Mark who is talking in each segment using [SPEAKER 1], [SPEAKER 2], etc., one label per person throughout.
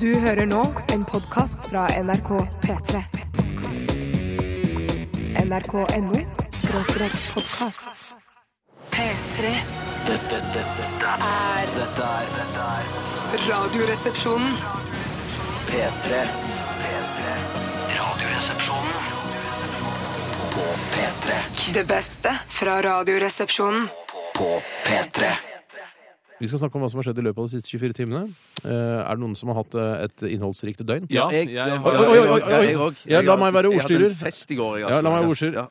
[SPEAKER 1] Du hører nå en podkast fra NRK P3. NRK.no skråstrek podkast. P3
[SPEAKER 2] Dette, dette, dette,
[SPEAKER 1] er
[SPEAKER 2] dette er dette er
[SPEAKER 1] Radioresepsjonen.
[SPEAKER 2] P3. P3. Radioresepsjonen på P3.
[SPEAKER 1] Det beste fra Radioresepsjonen.
[SPEAKER 2] På P3.
[SPEAKER 3] Vi skal snakke om hva som har skjedd i løpet av de siste 24 timene. Eh, er det noen som har hatt eh, et innholdsrikt døgn?
[SPEAKER 4] Ja,
[SPEAKER 5] jeg-
[SPEAKER 4] jeg
[SPEAKER 5] jeg-
[SPEAKER 4] har-
[SPEAKER 5] Oi, oi, oi, oi, oi.
[SPEAKER 3] Jeg òg.
[SPEAKER 5] Jeg
[SPEAKER 3] la
[SPEAKER 5] har-
[SPEAKER 3] meg være
[SPEAKER 5] Jeg
[SPEAKER 3] ordstyrer.
[SPEAKER 5] hadde en fest i går. Jeg,
[SPEAKER 3] Ja, la meg
[SPEAKER 5] altså.
[SPEAKER 3] være ordstyrer.
[SPEAKER 5] Ja.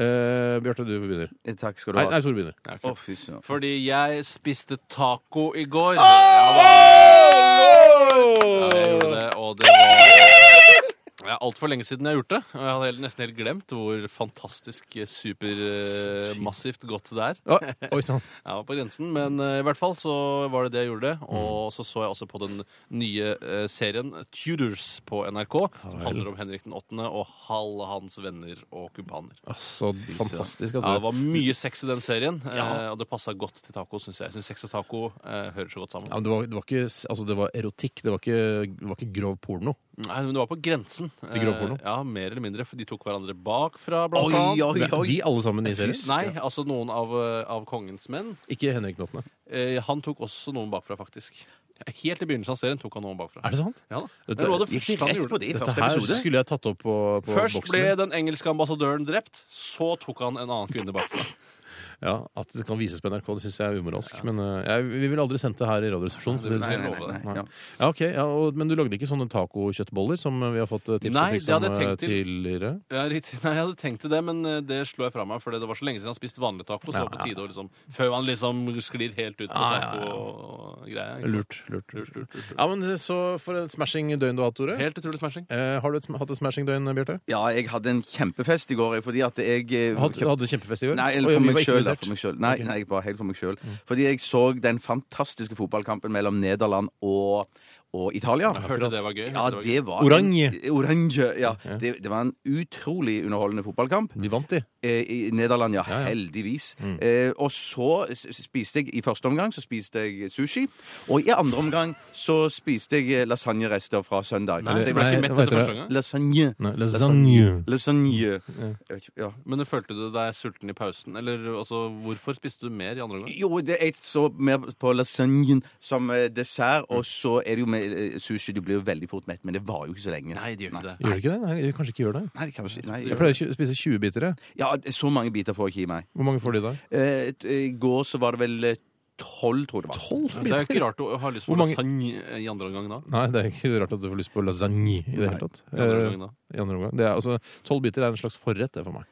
[SPEAKER 3] Eh, Bjarte, du begynner.
[SPEAKER 5] Takk skal du
[SPEAKER 3] Nei,
[SPEAKER 5] ha.
[SPEAKER 3] nei Tore begynner.
[SPEAKER 5] Å, fy søren.
[SPEAKER 4] Fordi jeg spiste taco i går. Ja, jeg gjorde det, og det var ja, Altfor lenge siden jeg har gjort det. Og jeg hadde helt- nesten helt glemt hvor fantastisk eh, supermassivt godt det er.
[SPEAKER 3] Ja, oi sånn. sann.
[SPEAKER 4] Jeg var på grensen, men eh, i hvert fall så var det det jeg gjorde. Og så så jeg også på den nye eh, serien Tudors på NRK, som handler om Henrik den 8. og alle hans venner og kumpaner.
[SPEAKER 3] Så fantastisk at
[SPEAKER 4] Ja, det
[SPEAKER 3] du
[SPEAKER 4] var mye sex i den serien, eh, og det passa godt til taco, syns jeg. Jeg synes sex og taco eh, hører så godt sammen.
[SPEAKER 3] ja, men det, var, det, var ikke, s- altså det var erotikk, det var ikke, det var ikke grov porno.
[SPEAKER 4] Nei, men det var på grensen.
[SPEAKER 3] Til grovporno?
[SPEAKER 4] Eh, Ja, mer eller mindre. For de tok hverandre bakfra, blant
[SPEAKER 5] Oi,
[SPEAKER 4] annet.
[SPEAKER 5] oi, oi.
[SPEAKER 3] De alle sammen i serien.
[SPEAKER 4] Nei, altså noen av, eh, av kongens menn.
[SPEAKER 3] Ikke Henrik Nottene.
[SPEAKER 4] Eh, han tok også noen bakfra, faktisk. Helt i begynnelsen av serien tok han noen bakfra.
[SPEAKER 3] Er det sant?
[SPEAKER 4] Ja da.
[SPEAKER 3] Dette-
[SPEAKER 4] Det var det
[SPEAKER 5] Gikk de
[SPEAKER 4] første han
[SPEAKER 5] rett på
[SPEAKER 4] gjorde.
[SPEAKER 5] det i
[SPEAKER 3] Dette
[SPEAKER 5] første
[SPEAKER 3] her
[SPEAKER 5] episode?
[SPEAKER 3] skulle jeg tatt opp på, på
[SPEAKER 4] Først
[SPEAKER 3] boksen.
[SPEAKER 4] ble
[SPEAKER 3] min.
[SPEAKER 4] den engelske ambassadøren drept, så tok han en annen kvinne bakfra.
[SPEAKER 3] Ja, At det kan vises på NRK, det syns jeg er umoralsk. Men eh, jeg, vi ville aldri sendt det her i Radioresepsjonen. for å si det
[SPEAKER 4] Nei,
[SPEAKER 3] sånn.
[SPEAKER 4] nei, nei,
[SPEAKER 5] nei, ja.
[SPEAKER 3] Ja, ok, ja, og, Men du lagde ikke sånne tacokjøttboller som vi har fått eh, tips
[SPEAKER 4] Nei,
[SPEAKER 3] og
[SPEAKER 4] det
[SPEAKER 3] triks om
[SPEAKER 4] hadde jeg
[SPEAKER 3] eh,
[SPEAKER 4] tenkt til.
[SPEAKER 3] tidligere?
[SPEAKER 4] Ja, riktig. Nei, jeg hadde tenkt til det, men eh, det slo jeg fra meg, for det var så lenge siden han spiste vanlig taco. Så
[SPEAKER 3] Ja,
[SPEAKER 4] det var på
[SPEAKER 3] ja,
[SPEAKER 4] tide å liksom Før han liksom sklir helt ut på
[SPEAKER 3] Ja, ja, ja.
[SPEAKER 4] taco-greia. ikke sant?
[SPEAKER 3] Lurt. lurt, lurt.
[SPEAKER 4] Lurt, lurt, lurt, lurt.
[SPEAKER 3] Ja, men eh, Så for et smashing døgn du har hatt, Tore.
[SPEAKER 4] Helt utrolig smashing.
[SPEAKER 3] Eh, har du et, sm- hatt et smashing døgn, Bjarte?
[SPEAKER 5] Ja, jeg hadde en kjempefest i går jeg, fordi at jeg eh,
[SPEAKER 3] Hatt-
[SPEAKER 5] kjøpt-
[SPEAKER 3] Hadde du kjempefest i år?
[SPEAKER 5] Nei,
[SPEAKER 3] Oi,
[SPEAKER 5] eller for
[SPEAKER 3] vi
[SPEAKER 5] meg
[SPEAKER 3] var ikke
[SPEAKER 5] sjøl.
[SPEAKER 3] invitert.
[SPEAKER 5] For meg selv. Nei,
[SPEAKER 3] Ok. Mm.
[SPEAKER 5] nei, bare helt for meg sjøl. Fordi jeg så den fantastiske fotballkampen mellom Nederland og, og Italia.
[SPEAKER 4] Jeg hørte det var gøy.
[SPEAKER 5] Ja,
[SPEAKER 4] hørte
[SPEAKER 5] det var
[SPEAKER 3] Oranje.
[SPEAKER 5] Oranje, ja. Det, det var en utrolig underholdende fotballkamp.
[SPEAKER 3] Vi vant, de.
[SPEAKER 5] Eh, I Nederland, ja.
[SPEAKER 3] Ja, Mm. ja.
[SPEAKER 5] Heldigvis. Eh, og så s- s- spiste jeg I første omgang så spiste jeg sushi. Og i andre omgang så spiste jeg eh, lasagnerester fra søndag.
[SPEAKER 4] Nei,
[SPEAKER 5] Så
[SPEAKER 4] jeg
[SPEAKER 5] jeg
[SPEAKER 4] ble
[SPEAKER 3] nei, hva
[SPEAKER 4] ikke mett
[SPEAKER 3] heter
[SPEAKER 4] etter
[SPEAKER 3] det?
[SPEAKER 4] første gang.
[SPEAKER 5] Lasagne.
[SPEAKER 3] Nei, lasagne.
[SPEAKER 5] Lasagne. Jeg vet ikke, Ja.
[SPEAKER 4] Men følte du deg sulten i pausen? Eller altså, hvorfor spiste du mer i andre omgang?
[SPEAKER 5] Jo, det er så mer på lasagnen som eh, dessert, og så er det jo med eh, sushi Du blir jo veldig fort mett, men det var jo ikke så lenge.
[SPEAKER 4] Nei, det gjør ikke det.
[SPEAKER 3] Gjør du ikke det? Nei, jeg kanskje ikke gjør det.
[SPEAKER 5] Nei, det kan vi ikke- nei,
[SPEAKER 3] Jeg pleier å kjø- spise 20 biter. jeg.
[SPEAKER 5] Ja, det- så mange biter får jeg ikke i meg.
[SPEAKER 3] Hvor mange får de i dag?
[SPEAKER 5] Eh, t- I går så var det vel eh, tolv, tror jeg det var.
[SPEAKER 3] 12
[SPEAKER 4] Det er jo ikke rart å ha lyst på
[SPEAKER 3] Hvor mange-
[SPEAKER 4] lasagne i andre omgang da.
[SPEAKER 3] Nei, det er ikke rart at du får lyst på lasagne i det hele tatt.
[SPEAKER 4] I andre omgang da.
[SPEAKER 3] Eh, I andre omgang. Det er, altså, 12 biter er en slags forrett, det, for meg.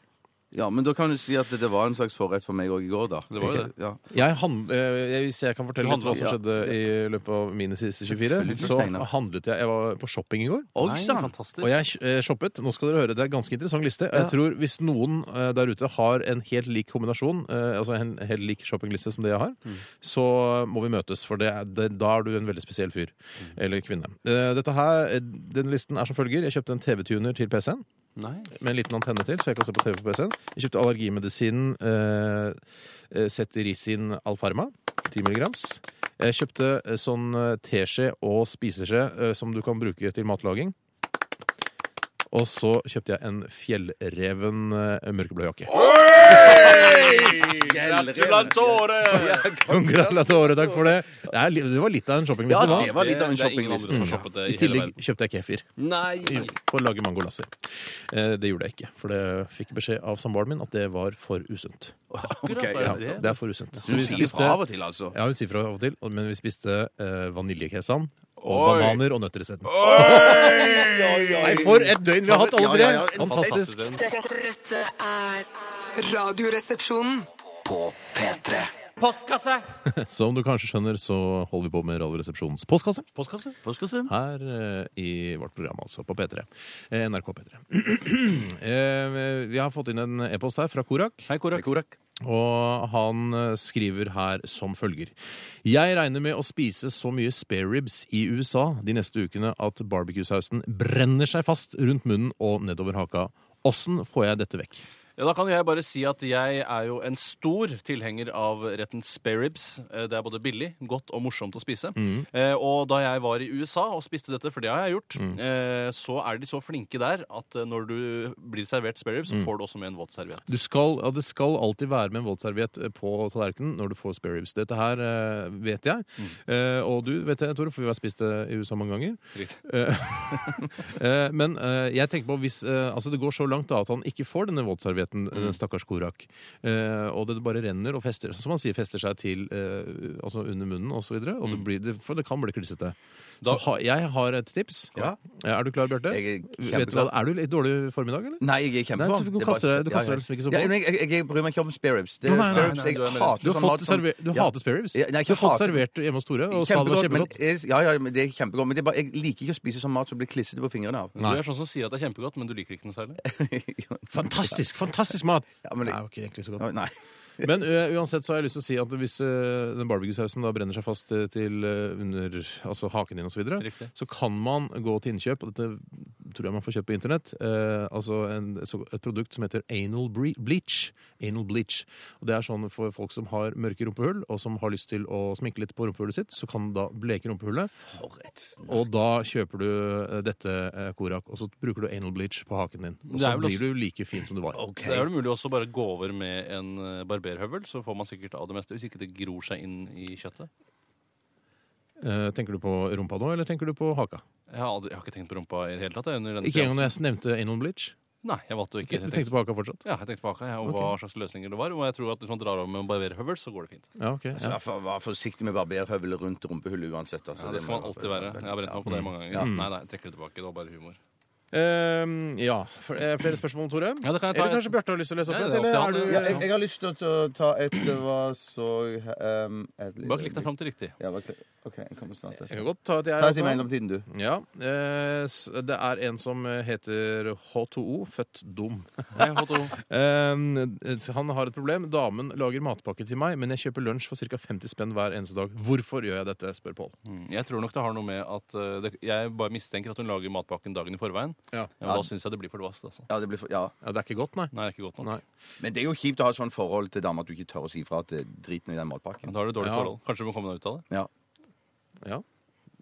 [SPEAKER 5] Ja, men da kan du si at det var en slags forrett for meg òg i går, da.
[SPEAKER 4] Det var jo det.
[SPEAKER 5] Ja.
[SPEAKER 3] Jeg hand, eh, jeg- hvis jeg kan fortelle
[SPEAKER 4] Du
[SPEAKER 3] litt hva
[SPEAKER 4] handlet,
[SPEAKER 3] som skjedde i løpet av mine siste 24,
[SPEAKER 5] Selvfølgelig,
[SPEAKER 3] så
[SPEAKER 5] Steinar.
[SPEAKER 3] handlet jeg Jeg var på shopping i går.
[SPEAKER 5] Oi,
[SPEAKER 4] Nei,
[SPEAKER 5] sann!
[SPEAKER 4] fantastisk.
[SPEAKER 3] Og jeg kj- eh, shoppet. Nå skal dere høre, Det er en ganske interessant liste. Og jeg tror Hvis noen eh, der ute har en helt lik kombinasjon, eh, altså en helt lik shoppingliste som det jeg har, så må vi møtes. For det er, det, da er du en veldig spesiell fyr. Eller kvinne. Eh, Dette her, eh, Denne listen er som følger. Jeg kjøpte en TV-tuner til PC-en.
[SPEAKER 4] Nei.
[SPEAKER 3] med en liten antenne til, så jeg kan se på TV på PC-en. Jeg kjøpte allergimedisinen eh, eh, Cetirizin Alfarma, 10 milligrams. Jeg kjøpte eh, sånn eh, teskje og spiseskje eh, som du kan bruke til matlaging. Og så kjøpte jeg en fjellreven eh, mørkeblå jakke.
[SPEAKER 4] Gratulatore!
[SPEAKER 3] Gratulerer, takk for det. Det, er, li- det var litt av en shoppingliste.
[SPEAKER 5] Ja,
[SPEAKER 3] da.
[SPEAKER 5] det var litt av en
[SPEAKER 4] Det er ingen andre
[SPEAKER 5] shoppingliste.
[SPEAKER 4] som har shoppet det i
[SPEAKER 3] I
[SPEAKER 4] hele
[SPEAKER 3] tillegg
[SPEAKER 4] verden.
[SPEAKER 3] kjøpte jeg kefir. Jo,
[SPEAKER 4] Nei!
[SPEAKER 3] For å lage mangolassi. Eh, det gjorde jeg ikke, for det fikk jeg beskjed av samboeren min at det var for usunt.
[SPEAKER 5] Ok,
[SPEAKER 4] Akkurat,
[SPEAKER 5] ja.
[SPEAKER 3] Ja, det er for usunt. Så
[SPEAKER 5] Du
[SPEAKER 3] vi
[SPEAKER 5] sier fra
[SPEAKER 3] spiste
[SPEAKER 5] av og til, altså.
[SPEAKER 3] Ja, hun sier fra av og til, og- men vi spiste eh, vaniljekesam og
[SPEAKER 4] Oi.
[SPEAKER 3] bananer og nøtter isteden. Nei,
[SPEAKER 5] Nei,
[SPEAKER 3] for et døgn vi har hatt,
[SPEAKER 5] Ja,
[SPEAKER 3] alle
[SPEAKER 5] ja,
[SPEAKER 3] tre!
[SPEAKER 5] ja,
[SPEAKER 3] Fantastisk.
[SPEAKER 1] Dette er Radioresepsjonen.
[SPEAKER 2] På P3.
[SPEAKER 3] Som du kanskje skjønner, så holder vi på med Radioresepsjonens postkasse.
[SPEAKER 4] Postkasse?
[SPEAKER 3] Her eh, i vårt program, altså, på P3. Eh, NRK P3. eh, vi har fått inn en e-post her fra Korak.
[SPEAKER 4] Hei, Korak.
[SPEAKER 3] Og han eh, skriver her som følger. Jeg regner med å spise så mye spareribs i USA de neste ukene at barbecue-sausen brenner seg fast rundt munnen og nedover haka. Åssen får jeg dette vekk?
[SPEAKER 4] Ja, Da kan jeg bare si at jeg er jo en stor tilhenger av retten spareribs. Eh, Det er både billig, godt og morsomt å spise. Eh, og da jeg var i USA og spiste dette, for det har jeg gjort, eh, så er de så flinke der at eh, når du blir servert spareribs, så får du også med en våt serviett.
[SPEAKER 3] Du skal, ja, det skal alltid være med en våtserviett eh, på tallerkenen når du får spareribs. Dette her eh, vet jeg. Eh, og du vet det, Tore, for vi har spist det i USA mange ganger. Eh, men eh, jeg tenker på hvis eh, altså det går så langt da at han ikke får denne våtservietten,
[SPEAKER 5] Mm.
[SPEAKER 3] den stakkars Korak, eh, og det bare renner og fester som han sier, fester seg til eh, altså under munnen og så videre, og
[SPEAKER 5] Mm.
[SPEAKER 3] det, blir, det, for det kan bli klissete.
[SPEAKER 4] Da-
[SPEAKER 3] Så ha, jeg har et tips. Eh,
[SPEAKER 5] Ja.
[SPEAKER 3] Er du klar, Bjarte?
[SPEAKER 5] Jeg er
[SPEAKER 3] Vet du hva, Er du litt dårlig i formiddag, eller?
[SPEAKER 5] Nei, jeg er i
[SPEAKER 3] Nei,
[SPEAKER 5] kjempeform.
[SPEAKER 3] så du
[SPEAKER 5] Det er
[SPEAKER 3] kaster
[SPEAKER 5] bare-
[SPEAKER 3] deg- du
[SPEAKER 5] ja,
[SPEAKER 3] kaster
[SPEAKER 5] ja.
[SPEAKER 3] deg liksom ikke så
[SPEAKER 5] Ja,
[SPEAKER 3] på.
[SPEAKER 5] men jeg, jeg, jeg bryr meg ikke om spareribs.
[SPEAKER 3] Nei, nei, nei, nei,
[SPEAKER 5] jeg
[SPEAKER 4] du er med.
[SPEAKER 5] hater
[SPEAKER 3] Du har
[SPEAKER 5] sånn
[SPEAKER 3] fått
[SPEAKER 5] mat som-
[SPEAKER 3] server- du
[SPEAKER 5] Ja.
[SPEAKER 3] hater spareribs?
[SPEAKER 5] Ja, nei, ikke
[SPEAKER 3] du har fått
[SPEAKER 5] hater-
[SPEAKER 3] servert hjemme hos Tore og sa det var
[SPEAKER 5] men
[SPEAKER 3] kjempegodt.
[SPEAKER 5] jeg- ja, ja, men det er kjempegodt. Men det er bare, jeg liker ikke å spise sånn mat som blir klissete på fingrene av.
[SPEAKER 4] Du er sånn som sier at det er kjempegodt, men du liker ikke noe særlig.
[SPEAKER 3] Fantastisk fantastisk mat!
[SPEAKER 5] Ja, men det-
[SPEAKER 3] Nei, ok, egentlig så godt.
[SPEAKER 5] Å, Nei.
[SPEAKER 3] Men ø, uansett så har jeg lyst til å si at hvis ø, den barbecue-sausen da brenner seg fast ø, til ø, under altså haken din osv., så, videre,
[SPEAKER 4] Riktig.
[SPEAKER 3] så kan man gå til innkjøp, og dette tror jeg man får kjøpt på internett, ø, altså en, så, et produkt som heter anal bre- bleach. Anal bleach. Og det er sånn for folk som har mørke rumpehull, og som har lyst til å sminke litt på rumpehullet sitt, så kan da bleke rumpehullet, og da kjøper du ø, dette ø, korak, og så bruker du anal bleach på haken din. Og
[SPEAKER 4] Det er
[SPEAKER 3] så
[SPEAKER 4] vel
[SPEAKER 3] blir
[SPEAKER 4] også-
[SPEAKER 3] du like fin som du var.
[SPEAKER 5] Ok.
[SPEAKER 4] Det er vel mulig også bare gå over med en eh, barberhøvel, så får man sikkert av det meste. Hvis ikke det gror seg inn i kjøttet.
[SPEAKER 3] Eh, tenker du på rumpa nå, eller tenker du på haka?
[SPEAKER 4] Jeg har, aldri, jeg har ikke tenkt på rumpa i det hele tatt. jeg, under denne
[SPEAKER 3] Ikke engang
[SPEAKER 4] seansen.
[SPEAKER 3] når jeg nevnte anal bleach?
[SPEAKER 4] Nei, jeg valgte å
[SPEAKER 3] Du
[SPEAKER 4] ikke
[SPEAKER 3] tenkte på haka fortsatt?
[SPEAKER 4] Ja, jeg tenkte på haka, jeg, og hva slags løsninger det var. Og jeg tror at hvis man drar over med en barberhøvel, så går det fint.
[SPEAKER 3] Ja, ok.
[SPEAKER 5] Så
[SPEAKER 3] Ja.
[SPEAKER 5] Altså, vær, for, vær forsiktig med barberhøvel rundt rumpehullet uansett. Altså,
[SPEAKER 4] Ja, det skal man alltid være. Jeg har brent meg opp på det mange ganger. Nei, nei, jeg trekker det tilbake. Det var bare humor.
[SPEAKER 3] Ehm, ja. For, eh, flere spørsmål, Tore?
[SPEAKER 4] Ja, det kan jeg ta
[SPEAKER 3] eller
[SPEAKER 4] et-
[SPEAKER 3] kanskje Bjarte har lyst til å lese opp
[SPEAKER 4] Ja,
[SPEAKER 3] et?
[SPEAKER 4] det er
[SPEAKER 3] Eller
[SPEAKER 4] opp
[SPEAKER 3] er
[SPEAKER 4] til
[SPEAKER 3] du...
[SPEAKER 4] han,
[SPEAKER 5] Ja, jeg, jeg har lyst til å ta et Det var så um, et,
[SPEAKER 4] Bare klikk deg fram til riktig.
[SPEAKER 5] Ja, bare klikk. OK, jeg kommer snart
[SPEAKER 3] Jeg
[SPEAKER 5] til
[SPEAKER 3] kan godt ta et, jeg
[SPEAKER 5] Ta et i
[SPEAKER 3] også.
[SPEAKER 5] mellomtiden, du.
[SPEAKER 3] Ja. eh, s- det er en som heter H2O, født dum.
[SPEAKER 4] Nei, H2O.
[SPEAKER 3] Ehm, han har et problem. Damen lager matpakke til meg, men jeg kjøper lunsj for ca. 50 spenn hver eneste dag. Hvorfor gjør jeg dette? spør Pål.
[SPEAKER 4] Mm, Jeg tror nok det har noe med at eh, det, Jeg bare mistenker at hun lager matpakken dagen i forveien.
[SPEAKER 3] Ja.
[SPEAKER 4] Ja, men da syns jeg det blir for dvast. Altså.
[SPEAKER 5] Ja, det blir for, ja.
[SPEAKER 3] Ja, det er ikke godt, nei.
[SPEAKER 4] Nei, ikke godt nok.
[SPEAKER 3] Nei.
[SPEAKER 5] Men det er jo kjipt å ha et sånt forhold til damer at du ikke tør å si ifra at det er driten i den matpakken.
[SPEAKER 4] Da har du dårlig
[SPEAKER 3] Ja.
[SPEAKER 4] forhold. Kanskje du må komme deg ut av det.
[SPEAKER 5] Ja.
[SPEAKER 3] Ja.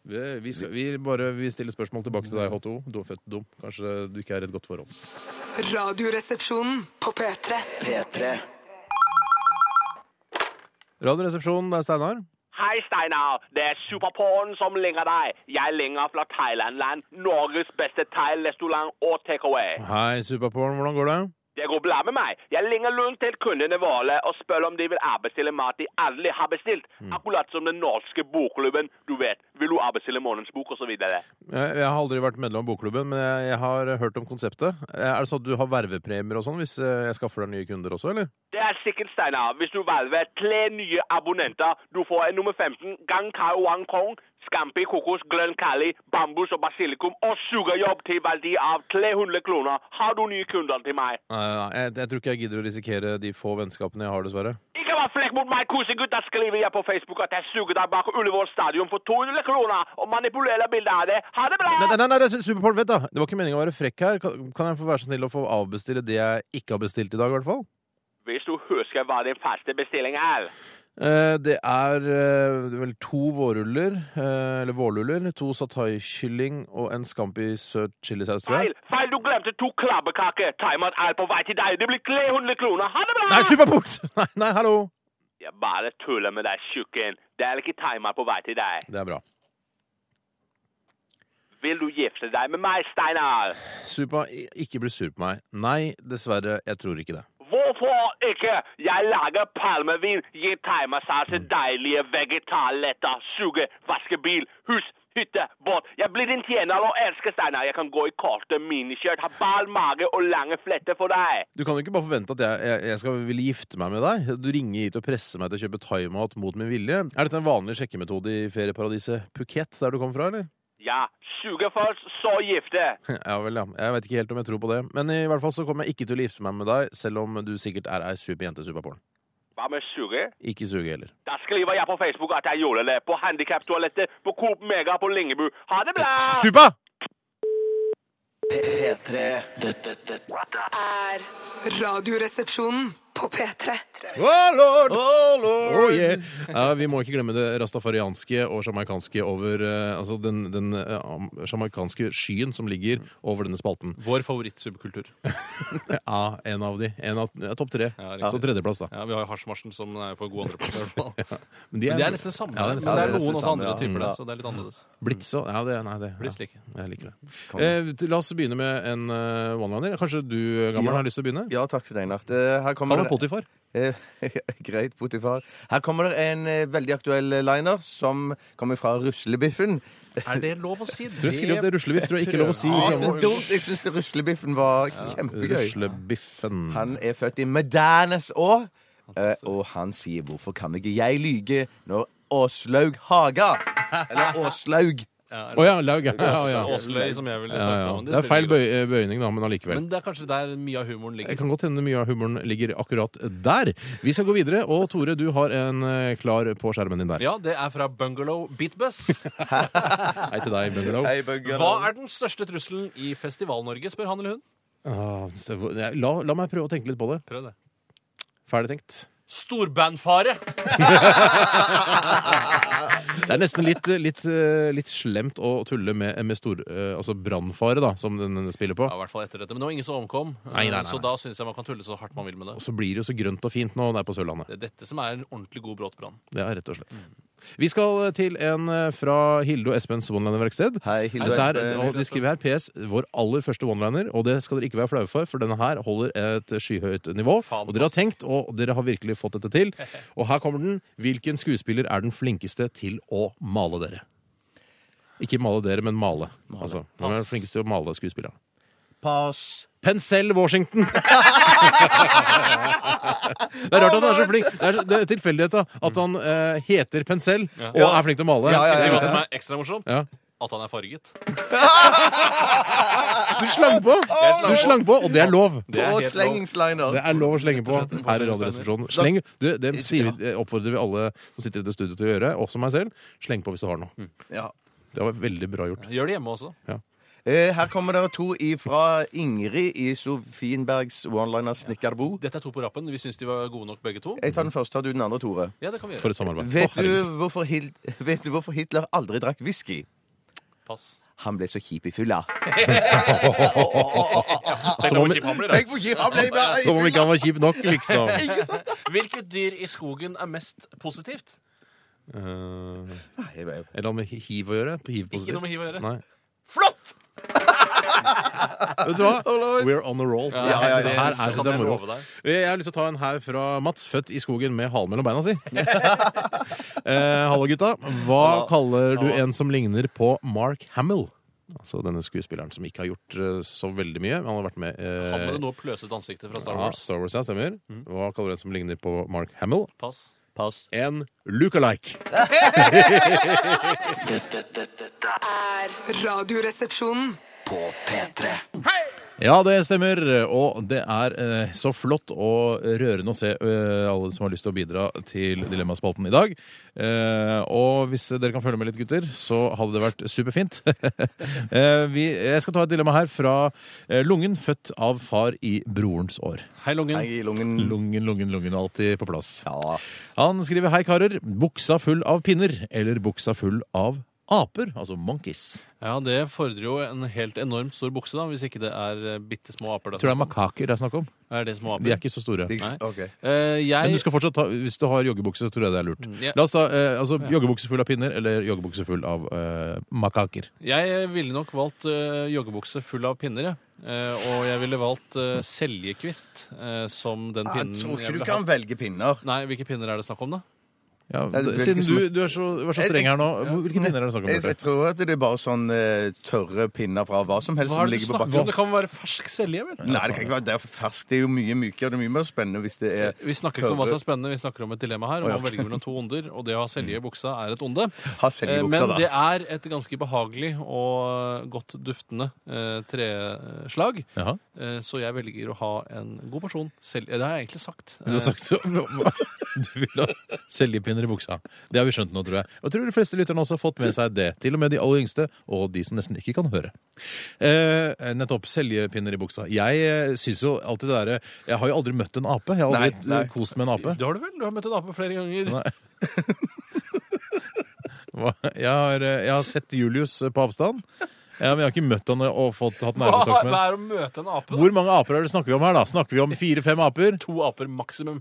[SPEAKER 3] Vi, vi, skal, vi, bare, vi stiller spørsmål tilbake til deg, H2O. Du er født dum. Kanskje du ikke er i et godt forhold.
[SPEAKER 6] Radioresepsjonen på P3.
[SPEAKER 2] P3.
[SPEAKER 3] Radioresepsjonen, det er Steinar.
[SPEAKER 7] Hei, Steinar. Det er Superporn som ringer deg. Jeg ringer fra Thailandland, Norges beste thai-restaurant og takeaway.
[SPEAKER 3] Hei, Superporn. Hvordan går det?
[SPEAKER 7] Det går bra med meg. Jeg ringer rundt til kundene våre og spør om de vil avbestille mat de aldri har bestilt. Akkurat som den norske bokklubben. Du vet, vil du avbestille månedens bok osv.
[SPEAKER 3] Jeg, jeg har aldri vært medlem av bokklubben, men jeg, jeg har hørt om konseptet. Eh, Er det sånn at du har vervepremier og sånn hvis eh, jeg skaffer deg nye kunder også, eller?
[SPEAKER 7] Det er sikkert, Steinar. Hvis du velger tre nye abonnenter, du får en nummer 15, Gang Kai Wang Kong, Scampi kokos, grønn kali, bambus og basilikum og sugerjobb til verdi av 300 kroner. Har du nye kunder til meg?
[SPEAKER 3] Nei, nei, nei, jeg, jeg tror ikke jeg gidder å risikere de få vennskapene jeg har, dessverre.
[SPEAKER 7] Ikke vær flekk mot meg, kosegutt. Da skriver jeg på Facebook at jeg suger deg bak Ullevål stadion for 200 kroner og manipulerer bildet av det. Ha det bra!
[SPEAKER 3] Nei, nei, nei, nei Su- Superporn, vent da! Det var ikke meningen å være frekk her. Kan, kan jeg få være så snill å få avbestille det jeg ikke har bestilt i dag, i hvert fall?
[SPEAKER 7] Hvis du husker hva din faste bestilling er.
[SPEAKER 3] Eh, det er eh, vel to vårruller, eh, eller vårluller, to satai-kylling og en scampi søt chilisaus, tror
[SPEAKER 7] Feil,
[SPEAKER 3] jeg.
[SPEAKER 7] feil, du glemte to krabbekaker. Timeren er på vei til deg. Det blir 300 kroner. Ha det bra!
[SPEAKER 3] Nei, Superporn! Nei, nei, hallo!
[SPEAKER 7] Jeg bare tuller med deg, tjukken. Det er ikke timer på vei til deg.
[SPEAKER 3] Det er bra.
[SPEAKER 7] Vil du gifte deg med meg, Steinar?
[SPEAKER 3] Supa, i- ikke bli sur på meg. Nei, dessverre, jeg tror ikke det.
[SPEAKER 7] Hvorfor ikke? Jeg lager palmevin, gir thaimassasje, deilige vegetarletter, suger, vasker bil, hus, hytte, båt. Jeg blir din tjener og elsker Steinar. Jeg kan gå i korte miniskjørt, ha bal mage og lange fletter for deg.
[SPEAKER 3] Du kan jo ikke bare forvente at jeg, jeg, jeg skal ville gifte meg med deg. Du ringer hit og presser meg til å kjøpe thaimat mot min vilje. Er dette en vanlig sjekkemetode i ferieparadiset Phuket, der du kom fra, eller?
[SPEAKER 7] Ja, suge først, så gifte.
[SPEAKER 3] Ja vel, ja. Jeg vet ikke helt om jeg tror på det. Men i hvert fall så kommer jeg ikke til å gifte meg med deg, selv om du sikkert er ei super jente, superporn.
[SPEAKER 7] Hva med suge?
[SPEAKER 3] Ikke suge heller.
[SPEAKER 7] Da skriver jeg på Facebook at jeg gjorde det. På handicap-toalettet, på Coop Mega, på Lingebu. Ha det bra!
[SPEAKER 3] Supa!
[SPEAKER 2] P3. Dette, dette
[SPEAKER 6] er Radioresepsjonen på P3.
[SPEAKER 3] Oh, lord! Oh, yeah. ja, vi må ikke glemme det rastafarianske og sjamaikanske over eh, Altså den, den eh, am- sjamaikanske skyen som ligger over denne spalten.
[SPEAKER 4] Vår favorittsubkultur.
[SPEAKER 3] Ja, en av de. En av, ja, topp tre.
[SPEAKER 4] Ja, riktig.
[SPEAKER 3] så tredjeplass, da.
[SPEAKER 4] Ja, Vi har jo hasjmarsjen som er på god andreplass. i hvert fall.
[SPEAKER 3] Men
[SPEAKER 4] Men det er nesten det samme.
[SPEAKER 3] Ja, det er
[SPEAKER 4] men
[SPEAKER 3] nesten
[SPEAKER 4] det
[SPEAKER 3] det
[SPEAKER 4] er noen
[SPEAKER 5] samme,
[SPEAKER 4] også andre
[SPEAKER 5] ja.
[SPEAKER 4] typer,
[SPEAKER 5] Ja.
[SPEAKER 4] det, så det er litt annerledes.
[SPEAKER 3] Blitz og Ja, det, nei, det
[SPEAKER 4] Blitt
[SPEAKER 3] ja.
[SPEAKER 4] slik.
[SPEAKER 3] Jeg liker det. Eh, la oss begynne med en eh, one-liner. Kanskje du, eh, gammel,
[SPEAKER 5] Ja.
[SPEAKER 3] har lyst til å begynne?
[SPEAKER 5] Ja, takk til deg, Nart. Eh, Her kommer
[SPEAKER 3] Kall meg
[SPEAKER 5] det
[SPEAKER 3] Potifar.
[SPEAKER 5] Eh, Greit, Potifar. Her kommer det en eh, veldig aktuell eh, liner som kommer fra Ruslebiffen.
[SPEAKER 4] Er det lov å si?
[SPEAKER 3] Tror jeg skrev det ruslebiff. Tror jeg ikke er lov å si.
[SPEAKER 5] Ah,
[SPEAKER 3] gammel.
[SPEAKER 5] så dumt! Jeg syns Ruslebiffen var kjempegøy.
[SPEAKER 3] Ruslebiffen.
[SPEAKER 5] Han er født i Medanes år, eh, og han sier 'Hvorfor kan ikke jeg lyge når Åslaug Haga' Eller Åslaug.
[SPEAKER 3] Å ja, lag. Ja, ja, ja.
[SPEAKER 4] Åsløy, som jeg ville
[SPEAKER 3] Ja,
[SPEAKER 4] sagt.
[SPEAKER 3] ja.
[SPEAKER 4] da, men
[SPEAKER 3] Det er
[SPEAKER 4] spiller
[SPEAKER 3] feil
[SPEAKER 4] ikke
[SPEAKER 3] bøy eh,
[SPEAKER 4] rolle.
[SPEAKER 3] bøyning, da, men allikevel.
[SPEAKER 4] Men det er kanskje der mye av humoren
[SPEAKER 3] Det
[SPEAKER 4] ligger.
[SPEAKER 3] kan godt hende mye av humoren ligger akkurat der. Vi skal gå videre, og Tore, du har en eh, klar på skjermen din der.
[SPEAKER 4] Ja, det er fra Bungalow Beatbus.
[SPEAKER 3] Hei til deg, Bungalow.
[SPEAKER 4] Hva er den største trusselen i Festival-Norge, spør han eller hun.
[SPEAKER 3] Ah, se hvor- nei, la, la meg prøve å tenke litt på det.
[SPEAKER 4] Prøv det.
[SPEAKER 3] Ferdig tenkt.
[SPEAKER 4] Storbandfare!
[SPEAKER 3] Det er nesten litt, eh, litt, eh, litt slemt å tulle med, med stor, eh, altså brannfare, da, som den den spiller på.
[SPEAKER 4] Ja, i hvert fall etter dette. Men det var ingen som omkom,
[SPEAKER 3] Nei, nei, nei,
[SPEAKER 4] så
[SPEAKER 3] nei.
[SPEAKER 4] da syns jeg man kan tulle så hardt man vil med
[SPEAKER 3] Og
[SPEAKER 4] det.
[SPEAKER 3] så blir det jo så grønt og fint nå det er på Sørlandet.
[SPEAKER 4] Det er dette som er en ordentlig god bråtbrann.
[SPEAKER 3] Det er rett og slett.
[SPEAKER 4] Mm.
[SPEAKER 3] Vi skal til en eh, fra Hilde og Espens Oneliner-verksted.
[SPEAKER 5] Hei, Hilde og
[SPEAKER 3] Der,
[SPEAKER 5] Espen.
[SPEAKER 3] og de skriver her PS, vår aller første one-liner, og det skal dere ikke være flaue for, for denne her holder et skyhøyt nivå. Og dere har tenkt, og dere har virkelig fått dette til. Og her kommer den. Hvilken skuespiller er den flinkeste til å male dere? Ikke male dere, men male. Altså, hvem er den flinkeste til å male skuespilleren?
[SPEAKER 5] Pass.
[SPEAKER 3] Pensell Washington! det er rart at han er så flink. Det er, så- det er tilfeldighet da, at han eh, heter Pensell og
[SPEAKER 5] Ja.
[SPEAKER 3] er flink til å male.
[SPEAKER 5] Ja, ja,
[SPEAKER 4] Skal jeg si
[SPEAKER 5] ja,
[SPEAKER 4] hva som er ekstra morsomt?
[SPEAKER 3] Ja.
[SPEAKER 4] At han er farget.
[SPEAKER 3] Du slang på! Du slang på, og det er lov.
[SPEAKER 4] Det er
[SPEAKER 5] Og
[SPEAKER 4] helt lov.
[SPEAKER 5] slengingsliner.
[SPEAKER 3] Det er lov å slenge på
[SPEAKER 4] slett en
[SPEAKER 3] her i Radioresepsjonen. Sleng, du, det sier vi, det oppfordrer vi alle som sitter i dette studioet til å gjøre, også meg selv. Sleng på hvis du har
[SPEAKER 4] Mm.
[SPEAKER 3] noe.
[SPEAKER 5] Ja.
[SPEAKER 3] Det var veldig bra gjort.
[SPEAKER 4] Gjør det hjemme også.
[SPEAKER 5] Eh, Her kommer dere to ifra Ingrid i Sofienbergs one-liner Snekkerbo.
[SPEAKER 4] Dette er to på rappen. Vi syns de var gode nok, begge to.
[SPEAKER 5] Jeg tar den første, tar du den andre, Tore.
[SPEAKER 4] Ja, det kan vi
[SPEAKER 3] For
[SPEAKER 4] gjøre.
[SPEAKER 3] et samarbeid.
[SPEAKER 5] Vet
[SPEAKER 3] Å,
[SPEAKER 5] du
[SPEAKER 3] herregud.
[SPEAKER 5] hvorfor, Hil- vet du hvorfor Hitler aldri drakk whisky?
[SPEAKER 4] Pass.
[SPEAKER 5] Han ble så kjip i fylla.
[SPEAKER 4] Tenk
[SPEAKER 3] om-
[SPEAKER 4] hvor kjip han blir, da.
[SPEAKER 5] Tenk hvor kjip han ble bare i
[SPEAKER 3] Som om
[SPEAKER 5] fylla!
[SPEAKER 3] ikke han var kjip nok, liksom.
[SPEAKER 4] Hvilket dyr i skogen er mest positivt?
[SPEAKER 3] Eh,
[SPEAKER 5] Nei, men-
[SPEAKER 3] Eller noe med hiv å gjøre?
[SPEAKER 4] Ikke noe med hiv å gjøre.
[SPEAKER 3] Nei.
[SPEAKER 4] Flott!
[SPEAKER 3] Vet du hva? We're on a roll.
[SPEAKER 5] ja, ja.
[SPEAKER 3] Det her er, synes jeg er
[SPEAKER 4] kan jeg
[SPEAKER 3] moro.
[SPEAKER 4] love deg.
[SPEAKER 3] Eh, Jeg har lyst til å ta en her fra Mats, født i skogen med halen mellom beina si. eh, hallo, gutta. Hva kaller du en som ligner på Mark Hamill? Altså denne skuespilleren som ikke har gjort eh, så veldig mye. men Han har vært med eh,
[SPEAKER 4] Han med det nå pløsete ansiktet fra Star
[SPEAKER 3] ja,
[SPEAKER 4] Wars. Mm.
[SPEAKER 3] Star Wars, ja, stemmer. Hva kaller du en som ligner på Mark Hamill?
[SPEAKER 4] Pass.
[SPEAKER 3] En look-alike.
[SPEAKER 6] Er Radioresepsjonen
[SPEAKER 2] på P3.
[SPEAKER 3] Ja, det stemmer. Og det er eh, så flott og rørende å se eh, alle som har lyst til å bidra til Dilemmaspalten i dag. Eh, og hvis dere kan følge med litt, gutter, så hadde det vært superfint. eh, vi, jeg skal ta et dilemma her fra eh, Lungen, født av far i brorens år.
[SPEAKER 4] Hei, Lungen.
[SPEAKER 5] Nei, i lungen.
[SPEAKER 3] Lungen, lungen, lungen. Alltid på plass.
[SPEAKER 5] Ja.
[SPEAKER 3] Han skriver 'Hei, karer. Buksa full av pinner' eller 'buksa full av aper', altså monkeys.
[SPEAKER 4] Ja, det fordrer jo en helt enormt stor bukse, da, hvis ikke det er eh, bitte små aper. Da.
[SPEAKER 3] Tror det er makaker det er snakk om.
[SPEAKER 4] Er det små
[SPEAKER 3] De
[SPEAKER 4] aper?
[SPEAKER 3] er ikke så store.
[SPEAKER 4] Nei.
[SPEAKER 5] Ok.
[SPEAKER 4] Eh,
[SPEAKER 3] Men
[SPEAKER 4] jeg
[SPEAKER 3] du skal fortsatt ta, hvis du har joggebukse, så tror jeg det er lurt.
[SPEAKER 4] Ja.
[SPEAKER 3] La oss ta eh, altså, joggebukse full av pinner eller joggebukse full av eh, makaker.
[SPEAKER 4] Jeg ville nok valgt eh, joggebukse full av pinner, jeg. Eh, og jeg ville valgt eh, seljekvist eh, som den
[SPEAKER 5] Jeg
[SPEAKER 4] pinnen
[SPEAKER 5] Ah, tror ikke
[SPEAKER 4] jeg
[SPEAKER 5] du
[SPEAKER 4] ville
[SPEAKER 5] kan
[SPEAKER 4] ha.
[SPEAKER 5] velge pinner.
[SPEAKER 4] Nei, hvilke pinner er det snakk om, da?
[SPEAKER 3] Ja,
[SPEAKER 5] Det er veldig
[SPEAKER 3] siden du,
[SPEAKER 5] smooth.
[SPEAKER 3] du er så, du er så streng her nå, hvor- hvilke pinner er det snakk om?
[SPEAKER 5] Jeg, jeg
[SPEAKER 3] Bjarte?
[SPEAKER 5] tror at det er bare sånn eh, tørre pinner fra hva som helst
[SPEAKER 4] Hva
[SPEAKER 5] som
[SPEAKER 4] er det du
[SPEAKER 5] ligger på
[SPEAKER 4] snakker om? Det
[SPEAKER 5] bakken.
[SPEAKER 4] kan være fersk selje, vel?
[SPEAKER 5] Nei, det kan ikke være det er ferskt. Det er jo mye mykere, det er mye mer spennende hvis det er
[SPEAKER 4] Vi snakker ikke om hva som
[SPEAKER 5] tørre.
[SPEAKER 4] er spennende, vi snakker om et dilemma her. Om å velge mellom to onder, og det å ha selje i buksa er et onde.
[SPEAKER 5] Ha selv Mm. i
[SPEAKER 4] Eh,
[SPEAKER 5] buksa,
[SPEAKER 4] Men det
[SPEAKER 5] da.
[SPEAKER 4] er et ganske behagelig og godt duftende eh, treslag.
[SPEAKER 3] Jaha.
[SPEAKER 4] Eh, så jeg velger å ha en god porsjon selv... eh, Det har jeg egentlig sagt.
[SPEAKER 3] Men du har sagt Du vil ha selgepinner i buksa. Det har vi skjønt nå, tror jeg. Og jeg tror de fleste lytterne også har fått med seg det. Til og med de aller yngste, og de som nesten ikke kan høre. Eh, nettopp. Seljepinner i buksa. Jeg eh, syns jo alltid det derre Jeg har jo aldri møtt en ape. Jeg har aldri
[SPEAKER 5] Nei, nei.
[SPEAKER 3] eh, kost med en ape.
[SPEAKER 4] Det har du vel? Du har møtt en ape flere ganger.
[SPEAKER 3] Nei. Hva- Jeg har, eh, jeg har sett Julius eh, på avstand, ja, men jeg har ikke møtt han og fått, hatt
[SPEAKER 4] Hva
[SPEAKER 3] nærkontakt med
[SPEAKER 4] hva
[SPEAKER 3] han.
[SPEAKER 4] er å møte en ape? da?
[SPEAKER 3] Hvor mange aper er det snakker vi om her, da? Snakker vi om fire-fem aper?
[SPEAKER 4] To aper maksimum.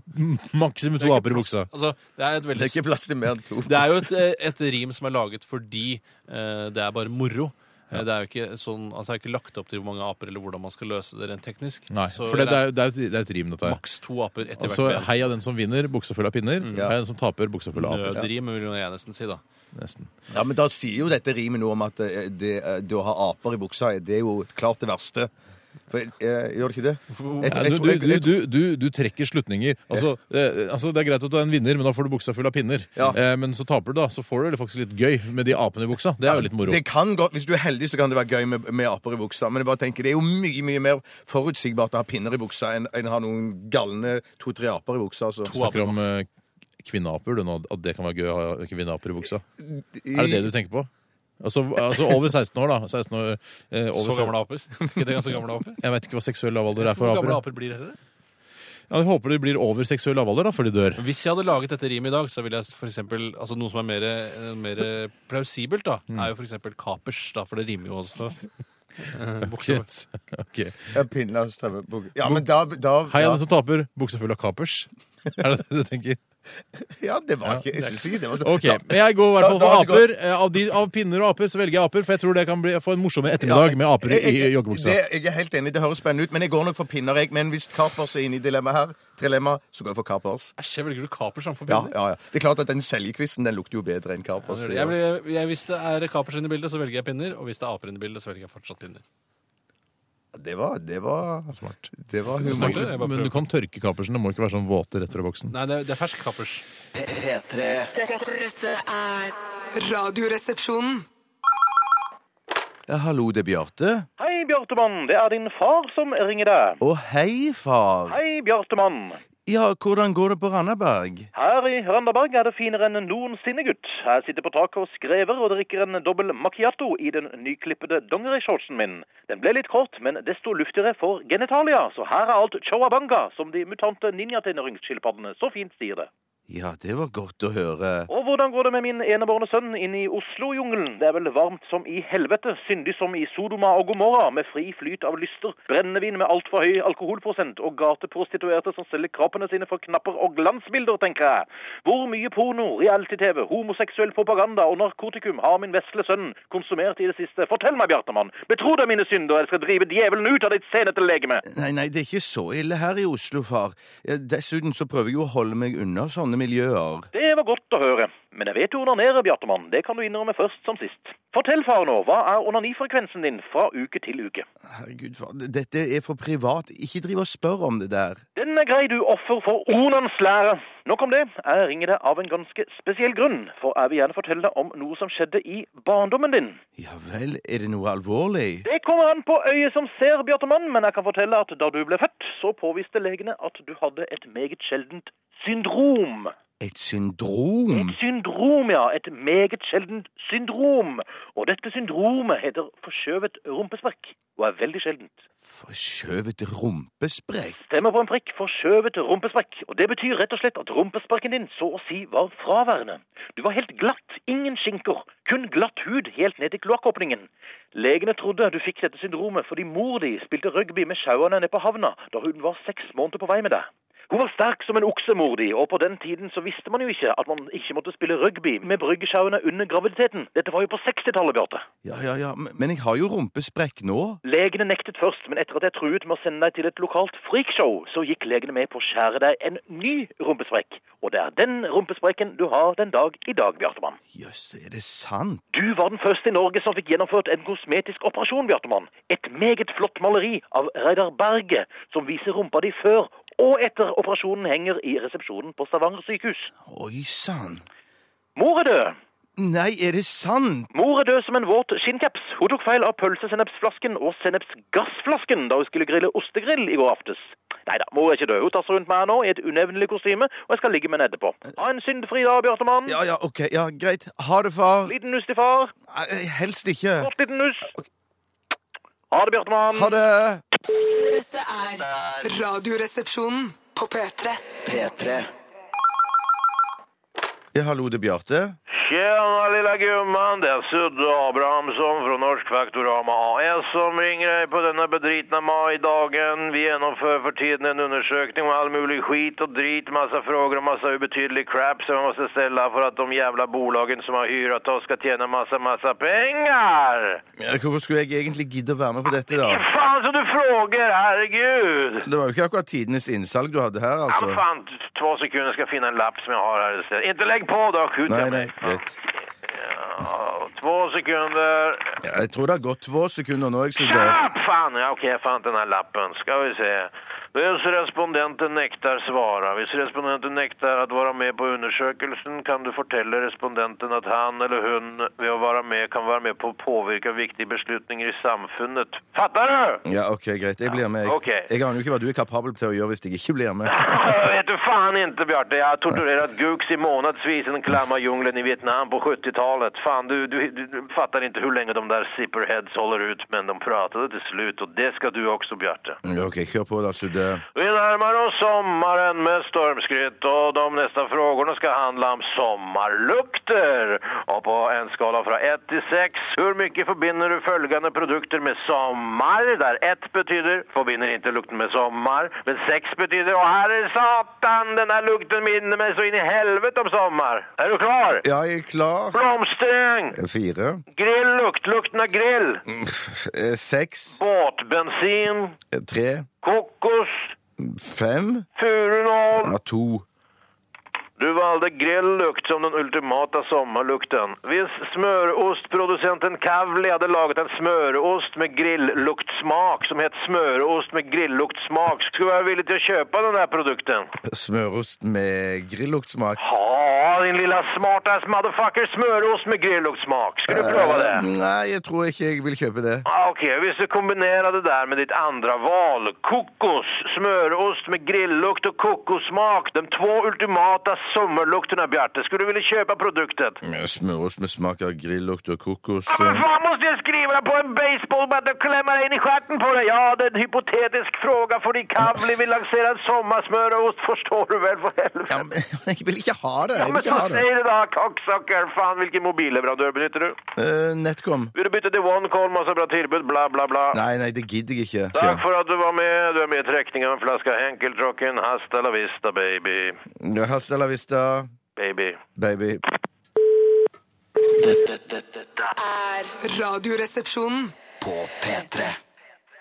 [SPEAKER 3] Maksimum
[SPEAKER 4] Det er
[SPEAKER 3] to
[SPEAKER 4] ikke
[SPEAKER 3] aper i
[SPEAKER 4] plass-
[SPEAKER 3] buksa.
[SPEAKER 4] Altså, det er et
[SPEAKER 5] Det
[SPEAKER 4] veldig
[SPEAKER 5] er ikke plass til mer enn to.
[SPEAKER 4] Det er jo et, eh, et rim som er laget fordi eh, det er bare moro. Eh, Det er jo ikke sånn, altså det er ikke lagt opp til hvor mange aper eller hvordan man skal løse det rent teknisk.
[SPEAKER 3] Nei,
[SPEAKER 4] Så
[SPEAKER 3] for det, det, er, jo- det, er, jo et- det er jo et rim, dette her.
[SPEAKER 4] maks to aper Mm. etter
[SPEAKER 3] Altså,
[SPEAKER 4] hvert.
[SPEAKER 3] Hei av den som vinner, buksa full av pinner.
[SPEAKER 5] Ja.
[SPEAKER 3] Hei av den som taper, buksa full av aper.
[SPEAKER 4] Nødrim, vil jeg nesten si. da.
[SPEAKER 3] Nesten.
[SPEAKER 5] Ja, men Da sier jo dette rimet noe om at eh, det, eh, det å ha aper i buksa, eh, det er jo klart det verste. For, eh, gjør det ikke det? Jeg-
[SPEAKER 3] Ja,
[SPEAKER 5] jeg-
[SPEAKER 3] du,
[SPEAKER 5] jeg-
[SPEAKER 3] du,
[SPEAKER 5] jeg-
[SPEAKER 3] du, du, du trekker slutninger. Altså, eh, altså, Det er greit at du er en vinner, men da får du buksa full av pinner.
[SPEAKER 5] Ja.
[SPEAKER 3] Eh, men så taper du, da. Så får du det faktisk litt gøy med de apene i buksa. Det er jo litt moro.
[SPEAKER 5] Det kan godt, Hvis du er heldig, så kan det være gøy med, med aper i buksa. Men jeg bare tenker, det er jo mye mye mer forutsigbart å ha pinner i buksa enn enn å ha noen galne to-tre aper i buksa. Altså.
[SPEAKER 3] Du snakker om eh, kvinneaper, du nå. At det kan være gøy å ha kvinneaper i buksa. Er det det du tenker på? Altså, altså over 16 år, da. 16 år, eh, over
[SPEAKER 4] Så gamle aper. ikke det ganske gamle aper?
[SPEAKER 3] Jeg vet ikke hva seksuell lavalder er for
[SPEAKER 4] Hvor gamle
[SPEAKER 3] aper.
[SPEAKER 4] aper blir dere?
[SPEAKER 3] Ja, jeg håper de blir over seksuell lavalder da, før de dør.
[SPEAKER 4] Hvis jeg hadde laget dette rimet i dag, så ville jeg for eksempel, altså noe som er mer, eh, mer plausibelt, da,
[SPEAKER 3] Mm.
[SPEAKER 4] er jo for eksempel kapers. da, For det rimer jo også. Eh, bokstaver.
[SPEAKER 3] Ok.
[SPEAKER 5] Ja, pinner, strømme, buk- ja, men da, da
[SPEAKER 3] Hei, altså.
[SPEAKER 5] ja,
[SPEAKER 3] alle som taper. Buksa full av kapers. Er det det du tenker?
[SPEAKER 5] ja, det var ikke Jeg syns ikke det var
[SPEAKER 3] Ok, men Jeg går i hvert fall
[SPEAKER 5] Da- da
[SPEAKER 3] for
[SPEAKER 5] har du
[SPEAKER 3] aper. Eh, Av, de, av pinner og aper så velger jeg aper, for jeg tror det kan bli, få en morsommere ettermiddag med aper i i joggebuksa.
[SPEAKER 5] Det, jeg er helt enig, det høres spennende ut, men jeg går nok for pinner. jeg Men hvis Kapers er inne i dilemmaet her, dilemma, så går jeg for Kapers.
[SPEAKER 4] Æsj, jeg velger du kapers framfor
[SPEAKER 5] Ja,
[SPEAKER 4] pinner?
[SPEAKER 5] ja, ja. Det er klart at den selgekvisten den lukter jo bedre enn Kapers. det
[SPEAKER 4] Jeg
[SPEAKER 5] gjør.
[SPEAKER 4] blir, jeg, hvis det er kapers inne i bildet, så velger jeg pinner. Og hvis det er aper inne i bildet, så velger jeg fortsatt pinner.
[SPEAKER 5] Det var, det var smart. Det var
[SPEAKER 3] Du snakker-
[SPEAKER 5] humor.
[SPEAKER 4] Jeg bare
[SPEAKER 3] Men
[SPEAKER 4] prøver.
[SPEAKER 3] du kan tørke kapersen. Det må ikke være sånn våte rett fra boksen.
[SPEAKER 4] Nei, det er, det er fersk kapers.
[SPEAKER 2] P3.
[SPEAKER 6] Dette, dette er Radioresepsjonen.
[SPEAKER 5] Ja, hallo, det er Bjarte.
[SPEAKER 8] Hei, Bjartemann. Det er din far som ringer deg.
[SPEAKER 5] Å, hei, far.
[SPEAKER 8] Hei, Bjartemann.
[SPEAKER 5] Ja, hvordan går det på Randaberg?
[SPEAKER 8] Her i Randaberg er det finere enn noensinne, gutt. Jeg sitter på taket og skrever og drikker en dobbel macchiato i den nyklippede dongerishortsen min. Den ble litt kort, men desto luftigere for genitalia, så her er alt chowabanga, som de mutante ninjatenåringsskilpaddene så fint sier det.
[SPEAKER 5] Ja, det var godt å høre.
[SPEAKER 8] Og hvordan går det med min enebårne sønn inne i Oslo-jungelen? Det er vel varmt som i helvete, syndig som i Sodoma og Gomorra, med fri flyt av lyster, brennevin med altfor høy alkoholprosent og gateprostituerte som selger kroppene sine for knapper og glansbilder, tenker jeg. Hvor mye porno, reality-TV, homoseksuell propaganda og narkotikum har min vesle sønn konsumert i det siste? Fortell meg, Bjartemann, betro deg mine synder, jeg skal drive djevelen ut av ditt senete legeme.
[SPEAKER 5] Nei, nei, det er ikke så ille her i Oslo, far. Ja, Dessuten så prøver jeg jo å holde meg unna sånne miljøer.
[SPEAKER 8] Det var godt å høre. Men jeg vet du onanerer, Bjartemann. Det kan du innrømme først som sist. Fortell, far, nå. Hva er onanifrekvensen din fra uke til uke?
[SPEAKER 5] Herregud, far, dette er for privat. Ikke driv og spør om det der.
[SPEAKER 8] Den er grei, du offer for onans lære. Nok om det. Jeg ringer deg av en ganske spesiell grunn, for jeg vil gjerne fortelle deg om noe som skjedde i barndommen din.
[SPEAKER 5] Ja vel, er det noe alvorlig?
[SPEAKER 8] Det kommer an på øyet som ser, Bjartemann, men jeg kan fortelle at da du ble født, så påviste legene at du hadde et meget sjeldent syndrom.
[SPEAKER 5] Et syndrom?
[SPEAKER 8] Et syndrom, ja. Et meget sjeldent syndrom. Og dette syndromet heter forskjøvet rumpespark, og er veldig sjeldent.
[SPEAKER 5] Forskjøvet rumpesprekk?
[SPEAKER 8] Stemmer på en prikk forskjøvet rumpespark, og det betyr rett og slett at rumpesparken din så å si var fraværende. Du var helt glatt, ingen skinker, kun glatt hud helt ned til kloakkåpningen. Legene trodde du fikk dette syndromet fordi mor di spilte rugby med sjauene nede på havna da hun var seks måneder på vei med deg. Hun var sterk som en okse, mor di, og på den tiden så visste man jo ikke at man ikke måtte spille rugby med bryggesjauene under graviditeten. Dette var jo på 60-tallet, Bjarte.
[SPEAKER 5] Ja, ja, ja, men men jeg har jo rumpesprekk nå.
[SPEAKER 8] Legene nektet først, men etter at jeg truet med å sende deg til et lokalt freakshow, så gikk legene med på å skjære deg en ny rumpesprekk. Og det er den rumpesprekken du har den dag i dag, Bjartemann.
[SPEAKER 5] Jøss, er det sant?
[SPEAKER 8] Du var den første i Norge som fikk gjennomført en kosmetisk operasjon, Bjartemann. Et meget flott maleri av Reidar Berge, som viser rumpa di før og etter operasjonen henger i resepsjonen på Stavanger sykehus.
[SPEAKER 5] Oi sann.
[SPEAKER 8] Mor er død.
[SPEAKER 5] Nei, er det sant?
[SPEAKER 8] Mor er død som en våt skinnkaps. Hun tok feil av pølsesennepsflasken og sennepsgassflasken da hun skulle grille ostegrill i går aftes.
[SPEAKER 5] Nei da, mor er ikke død. Hun tasser rundt meg her nå i et unevnelig kostyme, og jeg skal ligge med henne etterpå. Ha en syndfri dag, Bjartemann.
[SPEAKER 1] Ja, ja, ok, ja, greit. Ha det, far.
[SPEAKER 5] Liten nuss til far.
[SPEAKER 1] Nei, eh, Helst ikke.
[SPEAKER 5] Kort liten nuss. Ha det, Bjartemann.
[SPEAKER 1] Ha det.
[SPEAKER 6] Dette er Radioresepsjonen på P3.
[SPEAKER 9] P3
[SPEAKER 1] Ja, hallo, det er Bjarte.
[SPEAKER 8] Tjena lilla gumman, det är Sudde Abrahamsson från Norsk Faktorama AS som ringer dig på denna bedritna majdagen. Vi genomför för tiden en undersökning om all mulig skit och drit, massa frågor och massa obetydlig crap som man måste ställa för att de jävla bolagen som har hyrat oss ska tjäna massa, massa pengar!
[SPEAKER 1] Ja, Hvorfor skulle jeg egentlig gidde å være med på dette,
[SPEAKER 8] Ja.
[SPEAKER 1] da?
[SPEAKER 8] Fan så du frågar, herregud!
[SPEAKER 1] Det var jo ikke akkurat tidenes innsalg du hadde her,
[SPEAKER 8] Ja, men
[SPEAKER 1] altså.
[SPEAKER 8] fan, två sekunder ska jag finna en lapp som jag har här istället. Inte lägg på då, skjut
[SPEAKER 1] Nei,
[SPEAKER 8] jag
[SPEAKER 1] nei,
[SPEAKER 8] mig.
[SPEAKER 1] greit.
[SPEAKER 8] Ja, Två sekunder.
[SPEAKER 1] Ja, jeg tror det har gått få sekunder nå, jeg, så
[SPEAKER 8] Shut
[SPEAKER 1] det
[SPEAKER 8] up! Ah, Fan, ja, okej, jag fann inte den här lappen. Ska vi se. Dels respondenten nektar svara. Hvis respondenten nektar att vara med på undersökelsen kan du fortälla respondenten att han eller hon ved att vara med kan vara med på att påverka viktiga beslutningar i samfundet. Fattar du?
[SPEAKER 1] Ja, OK, greit. Jeg blir med.
[SPEAKER 8] ok.
[SPEAKER 1] Jeg, jeg aner jo ikke hva du er kapabel til å gjøre hvis jeg ikke blir med.
[SPEAKER 8] Jag vet du fan inte, Bjarte. Jag har torturerat Gux i månadsvis i den klamma djungeln i Vietnam på 70-talet. Fan, du, du, du, du fattar inte hur länge de där zipperheads håller ut, men de pratade till slut och det ska du också, Bjarte.
[SPEAKER 1] Ja, OK, kjør på, da, Sudde.
[SPEAKER 8] Vi närmar oss sommaren med stormskritt och de nästa frågorna ska handla om sommarlukter. Och på en skala från 1 till 6, hur mycket förbinder du följande produkter med sommar? Där 1 betyder förbinder inte lukten med sommar, men 6 betyder åh herre satan, den här lukten minner mig så in i helvete om sommar. Är du klar?
[SPEAKER 1] Ja, jeg er klar.
[SPEAKER 8] Blomsträng,
[SPEAKER 1] Fire.
[SPEAKER 8] grilllukt, lukten av grill,
[SPEAKER 1] Eh, Seks.
[SPEAKER 8] båtbensin,
[SPEAKER 1] Eh, Tre.
[SPEAKER 8] kokos,
[SPEAKER 1] Fem.
[SPEAKER 8] furunål.
[SPEAKER 1] Ja, to.
[SPEAKER 8] Du valde grilllukt som den ultimata sommarlukten. Hvis smörostproducenten Kavli hade lagat en smörost med grillluktsmak som hette smörost med grillluktsmak skulle jag vara villig till att köpa den här produkten.
[SPEAKER 1] Smørost med grilluktsmak.
[SPEAKER 8] Ja, din lilla smartass motherfucker, smörost med grillluktsmak. Ska du prova det?
[SPEAKER 5] Mm.
[SPEAKER 1] Eh, Nei, jeg tror ikke jeg vil kjøpe det.
[SPEAKER 8] Ah, Okej, visst du kombinerar det där med ditt andra val. Kokos, smörost med grilllukt och kokossmak. De två ultimata sommarlukterna, Bjarte. Skulle du vilja köpa produkten?
[SPEAKER 1] Eh, Smørost med smak av grillukt og kokos.
[SPEAKER 8] Ja, men fan måste jag skriva på en baseballbatt och klämma in i stjärten på dig? Ja, det är en hypotetisk fråga för i Kavli vill lansera en sommarsmörost, forstår du väl för helvete?
[SPEAKER 1] Ja, men jeg vil ikke ha det!
[SPEAKER 8] Ja,
[SPEAKER 1] Jeg vil
[SPEAKER 8] men
[SPEAKER 1] ikke
[SPEAKER 8] så
[SPEAKER 1] ha det.
[SPEAKER 8] säg det då, cocksucker. Fan, vilken mobilleverantör benyttar du?
[SPEAKER 1] Eh, Netcom.
[SPEAKER 8] Vill du byta till OneCall, massa bra tillbud, bla bla bla.
[SPEAKER 1] Nei, nei, det gidder jeg ikke.
[SPEAKER 8] Tack för att du var med. Du är med i träckningen av en flaska Henkeltrocken. Hasta la vista, baby.
[SPEAKER 1] Ja, Hasta la vista,
[SPEAKER 8] Baby.
[SPEAKER 1] baby.
[SPEAKER 6] Er Radioresepsjonen.
[SPEAKER 9] På P3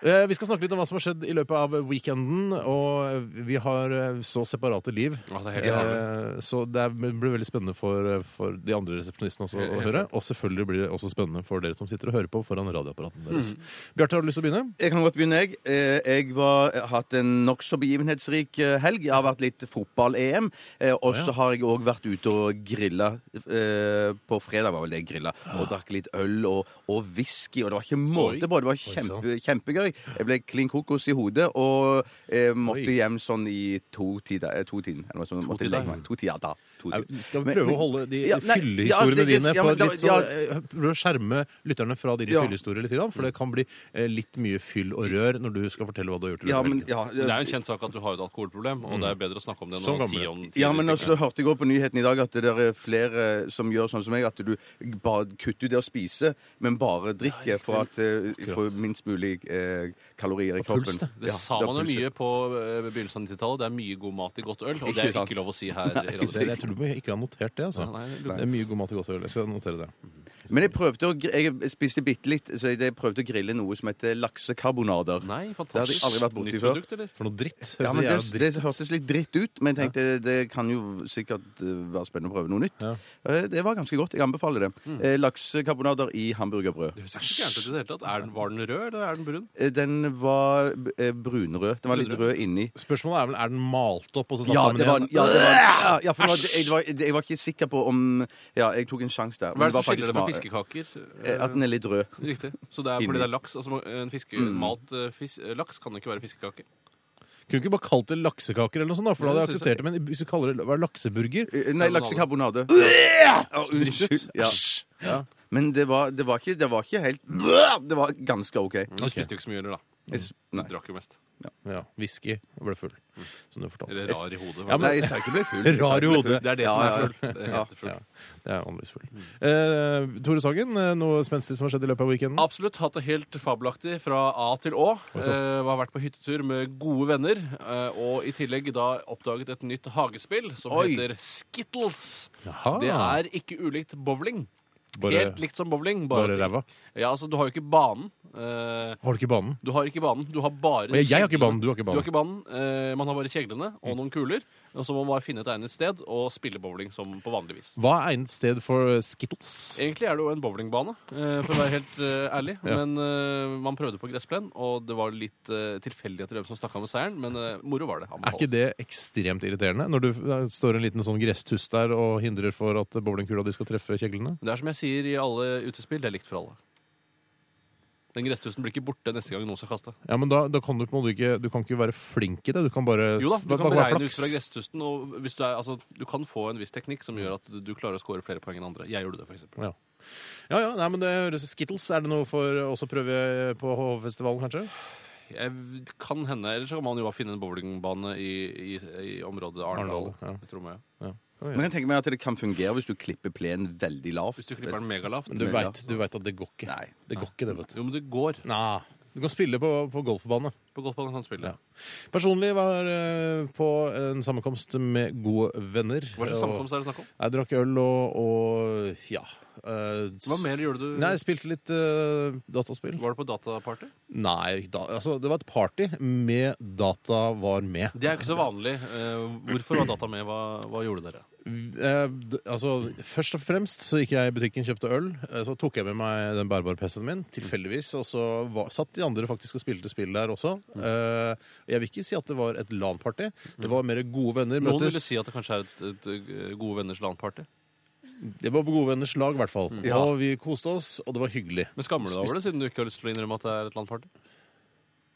[SPEAKER 3] Eh, Vi skal snakke litt om hva som har skjedd i løpet av weekenden. Og vi har eh, så separate liv.
[SPEAKER 4] Ja, det er helt
[SPEAKER 3] Eh, så det er- det blir veldig spennende for, eh, for de andre resepsjonistene også å høre. Og selvfølgelig blir det også spennende for dere som sitter og hører på foran radioapparatene
[SPEAKER 4] Mm.
[SPEAKER 3] deres. Bjarte, har du lyst til å begynne?
[SPEAKER 1] Jeg kan godt begynne, jeg. Eh, Jeg var, har hatt en nokså begivenhetsrik eh, helg. Jeg har vært litt fotball-EM. eh, Og så har jeg òg vært ute og grilla. eh, På fredag var vel det jeg grilla. Og drakk litt øl og, og whisky. Og det var ikke måte på. Det var kjempe, kjempegøy. Jeg ble klin kokos i hodet og eh, måtte
[SPEAKER 3] Oi.
[SPEAKER 1] hjem sånn i to tider. eh, To tiden, eller noe sånt. Måtte
[SPEAKER 4] tider?
[SPEAKER 1] legge meg. To tider, da. To
[SPEAKER 3] Nei,
[SPEAKER 1] tider.
[SPEAKER 3] Vi skal
[SPEAKER 1] Men-
[SPEAKER 3] prøve
[SPEAKER 1] men-
[SPEAKER 3] å holde de
[SPEAKER 1] Ja, nei, ja,
[SPEAKER 3] fyllehistoriene
[SPEAKER 1] det- det-
[SPEAKER 3] dine
[SPEAKER 1] ja,
[SPEAKER 3] på
[SPEAKER 1] men da-
[SPEAKER 3] litt sånn
[SPEAKER 1] ja.
[SPEAKER 3] eh, Prøv å skjerme lytterne fra dine
[SPEAKER 1] Ja.
[SPEAKER 3] fyllehistorier litt, grann, for det kan bli eh, litt mye fyll og rør når du skal fortelle hva du har gjort. i løpet
[SPEAKER 1] Ja,
[SPEAKER 3] av
[SPEAKER 1] men
[SPEAKER 3] helgen.
[SPEAKER 1] ja, eh,
[SPEAKER 4] Det er jo en kjent sak at du har et alkoholproblem, og det er bedre å snakke om det
[SPEAKER 3] Som
[SPEAKER 4] enn å
[SPEAKER 3] gamle.
[SPEAKER 4] tie om ti
[SPEAKER 1] Ja, men altså-
[SPEAKER 4] stykker.
[SPEAKER 1] også hørte jeg også på nyheten i dag at det er flere som gjør sånn som meg, at du bare kutter ut det å spise, men bare drikker for at eh, for minst mulig eh, kalorier i
[SPEAKER 3] Og
[SPEAKER 1] kroppen.
[SPEAKER 3] puls, det.
[SPEAKER 4] Det
[SPEAKER 1] Ja,
[SPEAKER 4] sa
[SPEAKER 1] det er
[SPEAKER 4] man jo
[SPEAKER 1] pulsen.
[SPEAKER 4] mye på eh, begynnelsen av 90-tallet. Det er mye god mat i godt øl, og det er
[SPEAKER 1] Ikke sant.
[SPEAKER 4] ikke lov å si her. i
[SPEAKER 3] Jeg
[SPEAKER 4] radioen.
[SPEAKER 3] tror vi ikke har notert det, altså.
[SPEAKER 4] Nei, nei,
[SPEAKER 3] Det er mye god mat i godt øl. Jeg skal notere det.
[SPEAKER 1] Men jeg prøvde å, gr- jeg spiste bitte litt, så jeg prøvde å grille noe som heter laksekarbonader.
[SPEAKER 4] Nei,
[SPEAKER 1] Det hadde jeg
[SPEAKER 4] fantastisk.
[SPEAKER 7] Ah,
[SPEAKER 1] aldri vært borti
[SPEAKER 4] Nytt
[SPEAKER 1] før.
[SPEAKER 4] produkt, eller?
[SPEAKER 3] For noe dritt.
[SPEAKER 1] Ja,
[SPEAKER 3] Høres
[SPEAKER 1] men det,
[SPEAKER 3] jævla
[SPEAKER 1] det
[SPEAKER 3] dritt ut.
[SPEAKER 1] hørtes litt dritt ut, men jeg tenkte det kan jo sikkert eh, være spennende å prøve noe nytt.
[SPEAKER 3] Ja.
[SPEAKER 1] Eh, Det var ganske godt. Jeg anbefaler det. Eh, Laksekarbonader i hamburgerbrød.
[SPEAKER 4] Mm. Det høres ikke gærent ut i det hele tatt. Er den, var den rød, eller er den brun?
[SPEAKER 1] Eh, Den var eh, brunrød. Den var litt rød inni.
[SPEAKER 3] Spørsmålet er vel er den malt opp og så satt
[SPEAKER 1] Ja,
[SPEAKER 3] sammen
[SPEAKER 1] det var,
[SPEAKER 3] igjen?
[SPEAKER 1] ja, det var, ja, for det var, jeg, var, jeg var ikke sikker på om Ja, jeg tok en sjanse der.
[SPEAKER 4] Hva
[SPEAKER 1] men
[SPEAKER 4] er
[SPEAKER 1] det var
[SPEAKER 4] det som skiller det fra
[SPEAKER 1] faktisk
[SPEAKER 4] fiskekaker?
[SPEAKER 1] ma- eh, At den er litt rød.
[SPEAKER 4] Riktig. Så det er
[SPEAKER 1] Inni. Mm.
[SPEAKER 4] fordi det er laks. Altså, en fiske, malt eh, fis, eh, laks kan ikke være fiskekaker.
[SPEAKER 3] Kunne ikke bare kalt det laksekaker eller noe sånt, da, for da hadde jeg
[SPEAKER 4] synes
[SPEAKER 3] akseptert det. Men hvis du kaller det hva er lakseburger
[SPEAKER 5] Eh, Nei, laksekarbonade. Ja, unnskyld. Ja.
[SPEAKER 3] Ja.
[SPEAKER 5] Men det var, det, var ikke, det var ikke helt Det var ganske OK.
[SPEAKER 4] Nå spiste jo ikke så mye heller, da.
[SPEAKER 5] Jeg, nei.
[SPEAKER 4] Mm. Drakk jo mest.
[SPEAKER 3] Ja, Whisky og ble full, som du fortalte.
[SPEAKER 4] Eller rar i hodet.
[SPEAKER 3] Ja, men-
[SPEAKER 5] nei, jeg sa ikke ble full. Jeg sa
[SPEAKER 4] liksom.
[SPEAKER 3] Rar i
[SPEAKER 5] ikke ble
[SPEAKER 3] hodet.
[SPEAKER 5] full.
[SPEAKER 4] Det er det
[SPEAKER 5] Ja,
[SPEAKER 4] som
[SPEAKER 5] ja, ja.
[SPEAKER 4] er full. Det
[SPEAKER 3] Ja,
[SPEAKER 4] heter full.
[SPEAKER 3] ja, det er vanligvis full. Eh, Tore Sagen, eh, noe spenstig som har skjedd i løpet av weekenden?
[SPEAKER 4] Absolutt. Hatt det helt fabelaktig fra A til Å. Eh, har vært på hyttetur med gode venner. Eh, og i tillegg da oppdaget et nytt hagespill som
[SPEAKER 5] Oi.
[SPEAKER 4] heter Skittles.
[SPEAKER 3] Jaha.
[SPEAKER 4] Det er ikke ulikt bowling.
[SPEAKER 3] Ah. bare,
[SPEAKER 4] helt likt som bowling.
[SPEAKER 3] bare
[SPEAKER 4] at-
[SPEAKER 3] ræva.
[SPEAKER 4] Ja, altså, du har jo ikke banen. Eh,
[SPEAKER 3] Har du ikke banen?
[SPEAKER 4] du har ikke banen. Du har bare
[SPEAKER 3] Og jeg, jeg har ikke
[SPEAKER 4] kjeglene.
[SPEAKER 3] banen, du har ikke
[SPEAKER 4] Du har
[SPEAKER 3] banen. Mm.
[SPEAKER 4] ikke banen. Eh, man har bare kjeglene og noen kuler. Og så må man bare finne et egnet sted og spille bowling som på vanlig vis.
[SPEAKER 3] Hva er egnet sted for eh, Skittles?
[SPEAKER 4] Egentlig er det jo en bowlingbane, eh, for å være helt eh, ærlig.
[SPEAKER 3] Ja.
[SPEAKER 4] Men eh, man prøvde på gressplen, og det var litt eh, tilfeldigheter hvem som stakk av med seieren. Men eh, moro var det.
[SPEAKER 3] Er ikke det ekstremt irriterende? Når du eh, står en liten sånn gresstuss der og hindrer for at bowlingkula di skal treffe kjeglene?
[SPEAKER 4] det er som jeg sier i alle utespill, det er likt for alle. Den gresstusen blir ikke borte neste gang noen skal kaste.
[SPEAKER 3] Ja, men da, da kan du på en måte ikke Du kan ikke være flink i det. Du kan bare
[SPEAKER 4] Jo da, du
[SPEAKER 3] bare-
[SPEAKER 4] kan
[SPEAKER 3] bare være
[SPEAKER 4] beregne ut
[SPEAKER 3] flaks.
[SPEAKER 4] fra gresstusten, og hvis du, er, altså, du kan få en viss teknikk som gjør at du, du klarer å score flere poeng enn andre. Jeg gjorde det, for eksempel.
[SPEAKER 3] Ja, ja, nei, men det høres Skittles. Er det noe for oss å prøve på HV-festivalen, kanskje?
[SPEAKER 4] Jeg kan hende, Eller så kan man jo bare finne en bowlingbane i, i, i området Arendal.
[SPEAKER 3] Arendal, ja.
[SPEAKER 4] i Tromøya.
[SPEAKER 5] Men jeg tenker meg at det kan fungere hvis du klipper plenen veldig lavt.
[SPEAKER 4] Hvis du klipper den megalavt.
[SPEAKER 3] Men du
[SPEAKER 5] Men, ja.
[SPEAKER 3] veit at det går ikke.
[SPEAKER 5] Nei.
[SPEAKER 3] Det går ikke, det, vet du.
[SPEAKER 4] Jo, men det går.
[SPEAKER 3] Nei. Du kan spille på, på golfbane.
[SPEAKER 4] På sånn golfbanen kan du spille.
[SPEAKER 3] Ja. Personlig var eh, på en sammenkomst med gode venner.
[SPEAKER 4] Hva slags
[SPEAKER 3] og-
[SPEAKER 4] sammenkomst er det snakk om?
[SPEAKER 3] Jeg drakk øl og, og ja. eh, s-
[SPEAKER 4] Hva mer gjorde du?
[SPEAKER 3] Nei, jeg spilte litt eh, dataspill.
[SPEAKER 4] Var det på dataparty?
[SPEAKER 3] Nei, da, altså, det var et party med data var med.
[SPEAKER 4] Det er ikke så vanlig. Eh, hvorfor var data med? Hva, hva gjorde dere?
[SPEAKER 3] Eh, d- altså, først og fremst så gikk jeg i butikken, kjøpte øl. eh, Så tok jeg med meg den bærbare PC-en min, tilfeldigvis. Og så var, satt de andre faktisk og spilte spill der også. Eh, jeg vil ikke si at det var et LAN-party. Det var mer gode venner
[SPEAKER 4] Noen ville
[SPEAKER 3] møttes.
[SPEAKER 4] si at det kanskje er et, et, eh, gode venners LAN-party.
[SPEAKER 3] Det var på gode venners lag, i hvert fall. Og vi koste oss, og det var hyggelig.
[SPEAKER 4] Men skammer du deg over det, siden du ikke har lyst til å innrømme at det er et LAN-party?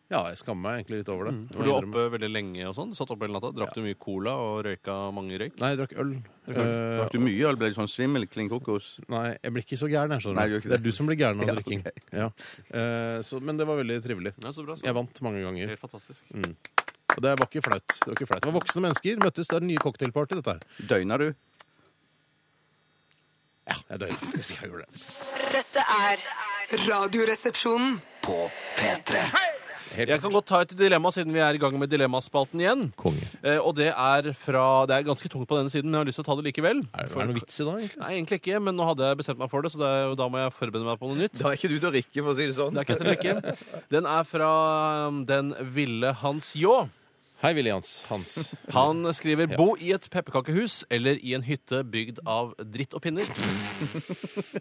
[SPEAKER 3] Ja, jeg skammer meg egentlig litt over det.
[SPEAKER 4] For du var oppe veldig lenge og sånn. Du Satt oppe hele natta, drakk du mye cola og røyka mange røyk?
[SPEAKER 3] Nei, jeg drakk øl. Eh,
[SPEAKER 5] Drakk du mye øl? Ble du sånn svimmel? Kling kokos?
[SPEAKER 3] Nei, jeg blir ikke så gæren. Jeg, skjønner
[SPEAKER 5] Nei,
[SPEAKER 3] du.
[SPEAKER 5] du gjør ikke
[SPEAKER 3] det
[SPEAKER 5] det.
[SPEAKER 3] er du som blir gæren av
[SPEAKER 5] Ja,
[SPEAKER 3] drikking. Ja. Eh, så, men det var veldig trivelig.
[SPEAKER 4] Nei, så bra. Så.
[SPEAKER 3] Jeg vant mange ganger.
[SPEAKER 4] Helt fantastisk.
[SPEAKER 3] Og det var ikke flaut. Det var, ikke flaut. Det var voksne mennesker. Møttes. Det er den nye cocktailparty, dette her.
[SPEAKER 5] Døgna du?
[SPEAKER 3] Ja, jeg døde faktisk. Jeg gjorde det.
[SPEAKER 6] Dette er Radioresepsjonen.
[SPEAKER 2] På P3.
[SPEAKER 4] Jeg kan godt ta et dilemma, siden vi er i gang med dilemmaspalten igjen.
[SPEAKER 3] Konge.
[SPEAKER 4] Eh, og det er fra Det er ganske tungt på denne siden, men jeg har lyst til å ta det likevel.
[SPEAKER 3] Er det er det noe vits i da, egentlig?
[SPEAKER 4] Nei, egentlig ikke, men nå hadde jeg bestemt meg for det, så det er, jo- da må jeg forberede meg på noe nytt.
[SPEAKER 5] Da er ikke du til å rikke, for å si det sånn.
[SPEAKER 4] Det er ikke etter Brekke. Den er fra um, den ville Hans Ljå.
[SPEAKER 3] Hei, Willy Hans. Hans.
[SPEAKER 4] Han skriver 'Bo i et pepperkakehus eller i en hytte bygd av dritt og pinner'.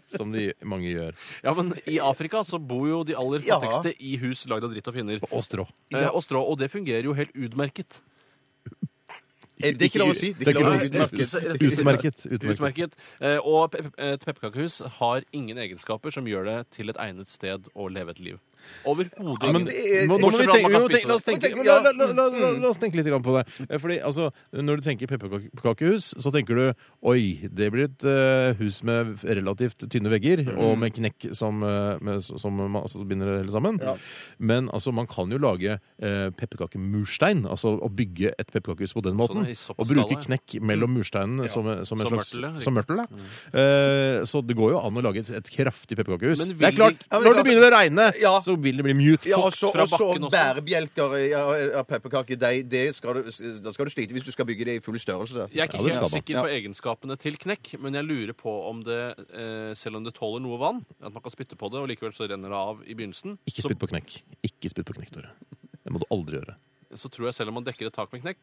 [SPEAKER 3] Som de mange gjør.
[SPEAKER 4] Ja, men i Afrika så bor jo de aller
[SPEAKER 5] Ja.
[SPEAKER 4] fattigste i hus lagd av dritt og pinner.
[SPEAKER 3] Og strå.
[SPEAKER 4] Eh, og strå. Og det fungerer jo helt utmerket.
[SPEAKER 5] Eh, Det er ikke lov å si.
[SPEAKER 3] Det er ikke lov å si.
[SPEAKER 5] Utmerket.
[SPEAKER 3] Utmerket. Utmerket.
[SPEAKER 4] Utmerket. Eh, og pe et pepperkakehus har ingen egenskaper som gjør det til et egnet sted å leve et liv. Overhodet
[SPEAKER 3] Ja, men
[SPEAKER 4] ingen.
[SPEAKER 3] nå må vi
[SPEAKER 4] Bortsett fra at
[SPEAKER 3] tenke,
[SPEAKER 4] man
[SPEAKER 3] vi
[SPEAKER 4] kan
[SPEAKER 3] må tenke,
[SPEAKER 4] spise
[SPEAKER 3] la, oss
[SPEAKER 4] det.
[SPEAKER 3] tenke, la, la, la, la, la, la oss tenke litt grann på det. Eh, Fordi, altså, når du tenker pepperkakehus, så tenker du Oi, det blir et eh, hus med relativt tynne vegger
[SPEAKER 4] Mm.
[SPEAKER 3] og med knekk som, eh, med, som man- altså, binder det hele sammen. Men altså, man kan jo lage eh, pepperkakemurstein. Altså å bygge et pepperkakehus på den måten.
[SPEAKER 4] Sånn i såpass
[SPEAKER 3] og bruke
[SPEAKER 4] skala,
[SPEAKER 3] knekk mellom mursteinene som, som en
[SPEAKER 4] Som
[SPEAKER 3] slags
[SPEAKER 4] mørtel, ja, Mm.
[SPEAKER 3] som mørtel. Da. Eh, så det går jo an å lage et, et kraftig pepperkakehus.
[SPEAKER 4] Men
[SPEAKER 3] Det er
[SPEAKER 4] vil
[SPEAKER 3] klart,
[SPEAKER 5] Ja, men
[SPEAKER 3] når det
[SPEAKER 5] klart-
[SPEAKER 3] begynner å regne,
[SPEAKER 5] Ja.
[SPEAKER 3] så vil det bli mjukt.
[SPEAKER 5] Ja, og så
[SPEAKER 4] fra
[SPEAKER 5] og så
[SPEAKER 4] bakken også.
[SPEAKER 5] bærebjelker av pepperkakedeig. Det skal du, da skal du slite hvis du skal bygge det i full størrelse.
[SPEAKER 4] Jeg er ikke
[SPEAKER 3] Ja, det skal
[SPEAKER 4] helt
[SPEAKER 3] man.
[SPEAKER 4] sikker på egenskapene til knekk, men jeg lurer på om det, eh, selv om det tåler noe vann, at man kan spytte på det, og likevel så renner det av i begynnelsen,
[SPEAKER 3] Ikke
[SPEAKER 4] så,
[SPEAKER 3] spytt på knekk. Ikke spytt på knekk, Tore. Det må du aldri gjøre.
[SPEAKER 4] så tror
[SPEAKER 3] Mm. Mm.
[SPEAKER 4] jeg selv om man dekker et tak med knekk,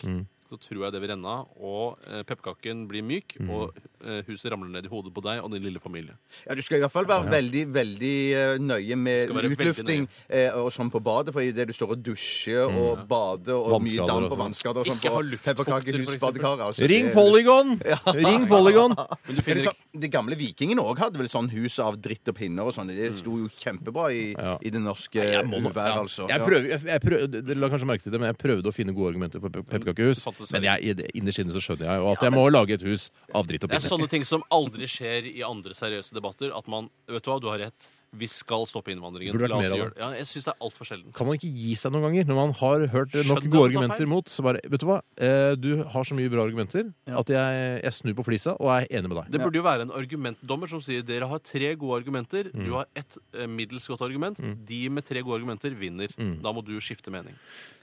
[SPEAKER 4] så tror jeg det vil renne av, og eh, pepperkaken blir myk, og eh, huset ramler ned i hodet på deg og din lille familie.
[SPEAKER 5] Ja, Du skal i hvert fall være veldig veldig eh, nøye med
[SPEAKER 4] Skal være veldig
[SPEAKER 5] utlufting eh, og sånn på badet. For idet du står og dusjer og bader og mye
[SPEAKER 3] Mm. Vannskader og
[SPEAKER 5] damp og
[SPEAKER 3] sånn.
[SPEAKER 5] vanskader og sånn
[SPEAKER 4] Ikke
[SPEAKER 5] på
[SPEAKER 4] ha luftfukter, for eksempel.
[SPEAKER 5] pepperkakehusbadekaret altså,
[SPEAKER 3] Ring
[SPEAKER 5] det-
[SPEAKER 3] Polygon! Ring Polygon!
[SPEAKER 5] Er
[SPEAKER 4] Men du
[SPEAKER 5] det
[SPEAKER 4] finner
[SPEAKER 5] sånn, de gamle vikingene òg hadde vel sånn hus av dritt og pinner og sånn. Det sto jo kjempebra i,
[SPEAKER 3] Mm. Ja.
[SPEAKER 5] i det norske
[SPEAKER 3] Jeg må nok-
[SPEAKER 5] uværet,
[SPEAKER 3] ja.
[SPEAKER 5] altså.
[SPEAKER 3] Jeg
[SPEAKER 5] Ja.
[SPEAKER 3] prøver, jeg, jeg prøver, dere la kanskje merke til det, men jeg prøvde å finne gode argumenter for
[SPEAKER 4] Mm.
[SPEAKER 3] pe- pepperkakehus.
[SPEAKER 4] Det fantes
[SPEAKER 3] Men jeg, i det- innerst inne så skjønner jeg jo at jeg må lage et hus av dritt og
[SPEAKER 4] Det er sånn-
[SPEAKER 3] pinne.
[SPEAKER 4] sånne ting som aldri skjer i andre seriøse debatter. At man Vet du hva, du har rett. Vi skal stoppe innvandringen.
[SPEAKER 3] Burde vært
[SPEAKER 4] La oss
[SPEAKER 3] mer av
[SPEAKER 4] gjøre det. Ja, jeg syns det er altfor sjelden.
[SPEAKER 3] Kan man ikke gi seg noen ganger når man har hørt nok
[SPEAKER 4] Skjønner
[SPEAKER 3] gode
[SPEAKER 4] at det er
[SPEAKER 3] argumenter
[SPEAKER 4] feil.
[SPEAKER 3] mot? Så bare, vet du hva, eh, du har så mye bra argumenter at jeg, jeg snur på flisa og er enig med deg.
[SPEAKER 4] Det burde jo være en argumentdommer som sier dere har tre gode argumenter. Du har ett eh, middels godt argument. De med tre gode argumenter vinner. Da må du skifte mening.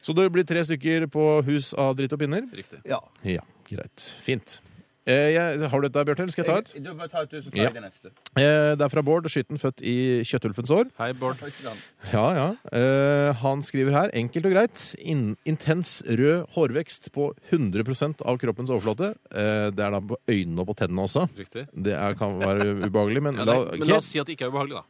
[SPEAKER 3] Så det blir tre stykker på hus av dritt og pinner?
[SPEAKER 4] Riktig.
[SPEAKER 5] Ja.
[SPEAKER 3] Ja, greit. Fint. Eh, jeg, har du dette, Bjarte? eller Skal jeg ta et?
[SPEAKER 5] Du bare ta et, du, så tar
[SPEAKER 3] Ja.
[SPEAKER 5] jeg det neste.
[SPEAKER 3] Eh, det er fra Bård, skytten født i kjøttulfens år.
[SPEAKER 4] Hei, Bård.
[SPEAKER 5] Takk skal du ha.
[SPEAKER 3] Ja, ja. Eh, han skriver her, enkelt og greit, in intens rød hårvekst på 100 av kroppens overflate. Eh, det er da på øynene og på tennene også.
[SPEAKER 4] Riktig.
[SPEAKER 3] Det er, kan være ubehagelig, men,
[SPEAKER 4] Ja,
[SPEAKER 3] la,
[SPEAKER 4] det, er- men la oss si at det ikke er ubehagelig, da.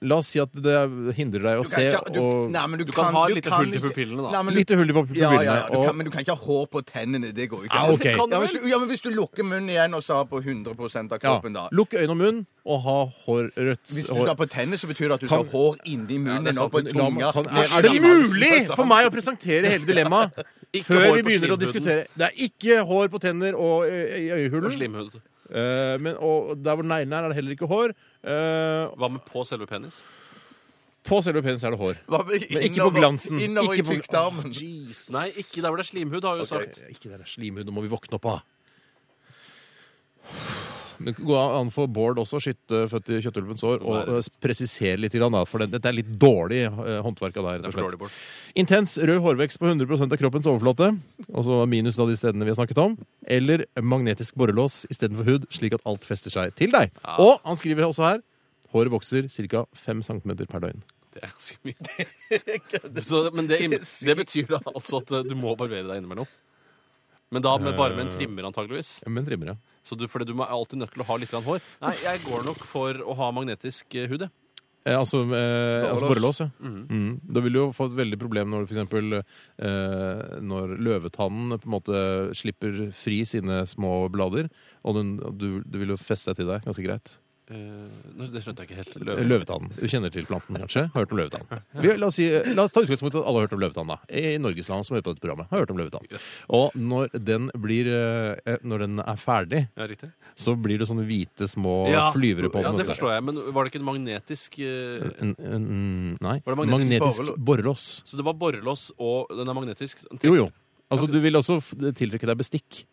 [SPEAKER 3] la oss si at det hindrer deg å
[SPEAKER 5] Du
[SPEAKER 3] se
[SPEAKER 5] kan ikke- du-
[SPEAKER 3] og
[SPEAKER 5] nei, men
[SPEAKER 4] Du kan ha
[SPEAKER 5] du
[SPEAKER 4] litt
[SPEAKER 5] kan
[SPEAKER 4] hull i
[SPEAKER 5] ikke-
[SPEAKER 4] pupillene, da.
[SPEAKER 5] Nei, men du-
[SPEAKER 3] Litt hull i
[SPEAKER 5] Ja, ja, ja,
[SPEAKER 3] pupillene.
[SPEAKER 5] du kan,
[SPEAKER 3] og-
[SPEAKER 5] men du kan ikke ha hår på tennene. Det går jo ikke.
[SPEAKER 3] Ja, Ah, ok.
[SPEAKER 5] ja, men, hvis du- ja, men hvis du lukker munnen igjen og så har på 100 av
[SPEAKER 3] Ja,
[SPEAKER 5] kroppen, da.
[SPEAKER 3] Lukk øyne og munn og ha hår rødt.
[SPEAKER 5] Hvis du
[SPEAKER 3] hår-
[SPEAKER 5] skal på tennene, så betyr det at du skal
[SPEAKER 3] Kan-
[SPEAKER 5] ha hår inni munnen
[SPEAKER 4] det er
[SPEAKER 5] og på
[SPEAKER 4] sant.
[SPEAKER 3] La meg-
[SPEAKER 5] tunga.
[SPEAKER 3] kan,
[SPEAKER 5] Mer
[SPEAKER 3] er, er det
[SPEAKER 5] enn halsen,
[SPEAKER 3] mulig
[SPEAKER 5] altså.
[SPEAKER 3] for meg å presentere hele dilemmaet før
[SPEAKER 4] hår
[SPEAKER 3] vi
[SPEAKER 4] på
[SPEAKER 3] begynner å
[SPEAKER 4] slimhuden.
[SPEAKER 3] diskutere? Det er ikke hår på tenner og ø- i
[SPEAKER 4] Og
[SPEAKER 3] øyehulen.
[SPEAKER 4] slimhud.
[SPEAKER 3] Eh, men, og der hvor neglene er, er det heller ikke hår. Eh,
[SPEAKER 4] Hva med på selve penis?
[SPEAKER 3] på selve penis er det hår.
[SPEAKER 5] Hva med
[SPEAKER 3] Men ikke på
[SPEAKER 5] innover-
[SPEAKER 3] glansen.
[SPEAKER 5] Innover i
[SPEAKER 3] Ikke på-
[SPEAKER 5] tykktarmen.
[SPEAKER 4] Nei, ikke der hvor det er slimhud, har jeg jo sagt.
[SPEAKER 3] Ikke det der slimhud, nå må vi våkne opp av. Det går an for Bård også, skytte født i kjøttulvens år, og eh, presisere litt, grann, da, for det- dette er litt dårlig eh, håndverk av deg.
[SPEAKER 4] Det
[SPEAKER 3] rett
[SPEAKER 4] er for
[SPEAKER 3] og slett.
[SPEAKER 4] dårlig, Bård.
[SPEAKER 3] Intens rød hårvekst på 100 av kroppens overflate, altså minus av de stedene vi har snakket om, eller magnetisk borrelås istedenfor hud, slik at alt fester seg til deg. Og han skriver også her håret vokser ca. 5 cm per døgn.
[SPEAKER 4] Det er ganske mye. Så, men det, det betyr da altså at eh, du må barbere deg innimellom. Men da med, bare med en trimmer, antageligvis.
[SPEAKER 3] Men trimmer, ja.
[SPEAKER 4] Så du, fordi du må er alltid nødt til å ha litt grann hår. Nei, jeg går nok for å ha magnetisk eh, hud, jeg.
[SPEAKER 3] Eh, altså, eh, altså
[SPEAKER 5] Borrelås.
[SPEAKER 3] borrelås, ja. Mhm. Da vil du jo få et veldig problem når for eksempel eh, når løvetannen på en måte slipper fri sine små blader, og den, og du, du vil jo feste seg til deg ganske greit.
[SPEAKER 4] Eh, nå, det skjønte jeg ikke helt.
[SPEAKER 3] Eh, Løvetannen. Du kjenner til planten, kanskje? Hørt om løvetann. Vi, la, oss si, la oss ta utgangspunkt i at alle har hørt om løvetann, da. I Norges land som hører på dette programmet, har hørt om løvetann. Og når den blir eh, Når den er ferdig,
[SPEAKER 4] Ja, riktig.
[SPEAKER 3] så blir det sånne hvite små flyvere på den.
[SPEAKER 4] Ja, det
[SPEAKER 3] vet du.
[SPEAKER 4] forstår jeg. Men var det ikke en magnetisk eh,
[SPEAKER 3] En, en, en, nei.
[SPEAKER 4] Var det magnetisk
[SPEAKER 3] Magnetisk borrelås.
[SPEAKER 4] Så det var borrelås, og den er magnetisk? sånn
[SPEAKER 3] Jo, jo. Altså, du vil også f- tiltrekke deg bestikk.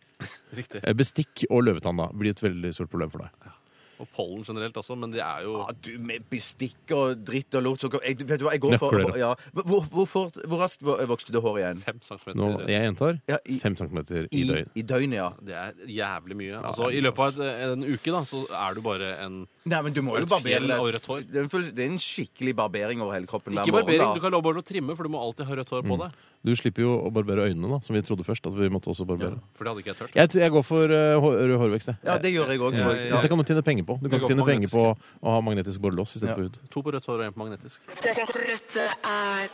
[SPEAKER 4] Riktig.
[SPEAKER 3] Eh, Bestikk og løvetann da blir et veldig stort problem for deg.
[SPEAKER 4] Og pollen generelt også, men det er jo
[SPEAKER 5] Ja, du med bestikk og dritt og lort så går- jeg, Vet du hva, jeg går
[SPEAKER 3] Nøkler.
[SPEAKER 5] for ja. hvor, hvor, fort- hvor raskt vo- vokste det håret igjen?
[SPEAKER 4] fem centimeter.
[SPEAKER 3] Nå, jeg gjentar
[SPEAKER 5] Ja, i,
[SPEAKER 3] 5 cm i
[SPEAKER 5] i,
[SPEAKER 3] døgn.
[SPEAKER 5] I døgnet, ja.
[SPEAKER 4] Det er jævlig mye. Altså,
[SPEAKER 3] det er
[SPEAKER 4] I
[SPEAKER 3] mye,
[SPEAKER 4] løpet av et- en uke da, så er du bare en
[SPEAKER 5] Nei, men du må
[SPEAKER 4] Er
[SPEAKER 5] jo
[SPEAKER 4] det et
[SPEAKER 5] barbere
[SPEAKER 4] fjell
[SPEAKER 5] deg.
[SPEAKER 4] av rødt hår?
[SPEAKER 5] Det er en full- Det er en skikkelig barbering over hele kroppen. hver
[SPEAKER 4] Ikke
[SPEAKER 5] morgen,
[SPEAKER 4] barbering,
[SPEAKER 5] da.
[SPEAKER 4] du kan love bare å trimme, for du må alltid ha rødt hår på deg.
[SPEAKER 3] Du slipper jo å barbere øynene, da, som vi trodde først. at vi måtte også barbere.
[SPEAKER 4] For det hadde ikke jeg tørt.
[SPEAKER 3] Jeg, tror jeg går for eh, hår, rød hårvekst. jeg.
[SPEAKER 5] Ja, det gjør jeg òg.
[SPEAKER 4] Ja, ja, ja.
[SPEAKER 3] Dette kan du tjene penger på. Du kan
[SPEAKER 4] går
[SPEAKER 3] ikke tjene
[SPEAKER 4] for
[SPEAKER 3] penger på å ha magnetisk
[SPEAKER 5] Ja.
[SPEAKER 3] borrelås istedenfor hud.
[SPEAKER 4] To på rødt hår og en på magnetisk.
[SPEAKER 6] Dette, dette er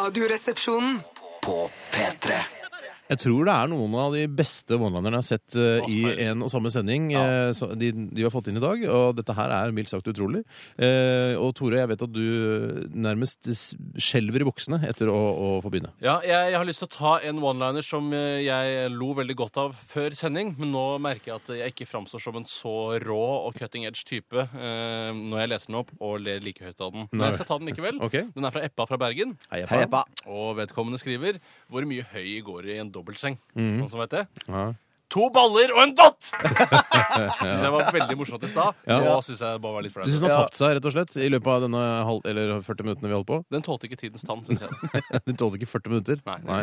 [SPEAKER 1] Radioresepsjonen.
[SPEAKER 2] På P3
[SPEAKER 3] Jeg tror det er noen av de beste one-linerne jeg har sett eh,
[SPEAKER 4] Å,
[SPEAKER 3] i en og samme sending. eh, så de, de har fått inn i dag, og dette her er mildt sagt utrolig. Eh, og Tore, jeg vet at du eh, nærmest s- skjelver i buksene etter å, å få begynne.
[SPEAKER 4] Ja, jeg, jeg har lyst til å ta en one-liner som eh, jeg lo veldig godt av før sending, men nå merker jeg at jeg ikke framstår som en så rå og cutting edge type eh, når jeg leser den opp og ler like høyt av den. Men jeg skal ta den likevel.
[SPEAKER 3] Ok.
[SPEAKER 4] Den er fra Eppa fra Bergen,
[SPEAKER 3] Hei,
[SPEAKER 5] Hei, Ebba.
[SPEAKER 4] og vedkommende skriver hvor mye høy går i en dobbeltseng.
[SPEAKER 3] Mhm.
[SPEAKER 4] Noen som vet det?
[SPEAKER 3] Ja.
[SPEAKER 4] To baller og en dott! Syns jeg var veldig morsomt i stad.
[SPEAKER 3] Ja.
[SPEAKER 4] Nå syns jeg bare var litt
[SPEAKER 3] Du syns
[SPEAKER 4] flaut.
[SPEAKER 3] han har
[SPEAKER 5] Ja.
[SPEAKER 3] tapt seg rett og slett i løpet av denne halv, eller 40 minuttene vi holdt på?
[SPEAKER 4] Den tålte ikke tidens tann, syns jeg.
[SPEAKER 3] Den tålte ikke 40 minutter.
[SPEAKER 4] Nei.
[SPEAKER 3] Nei.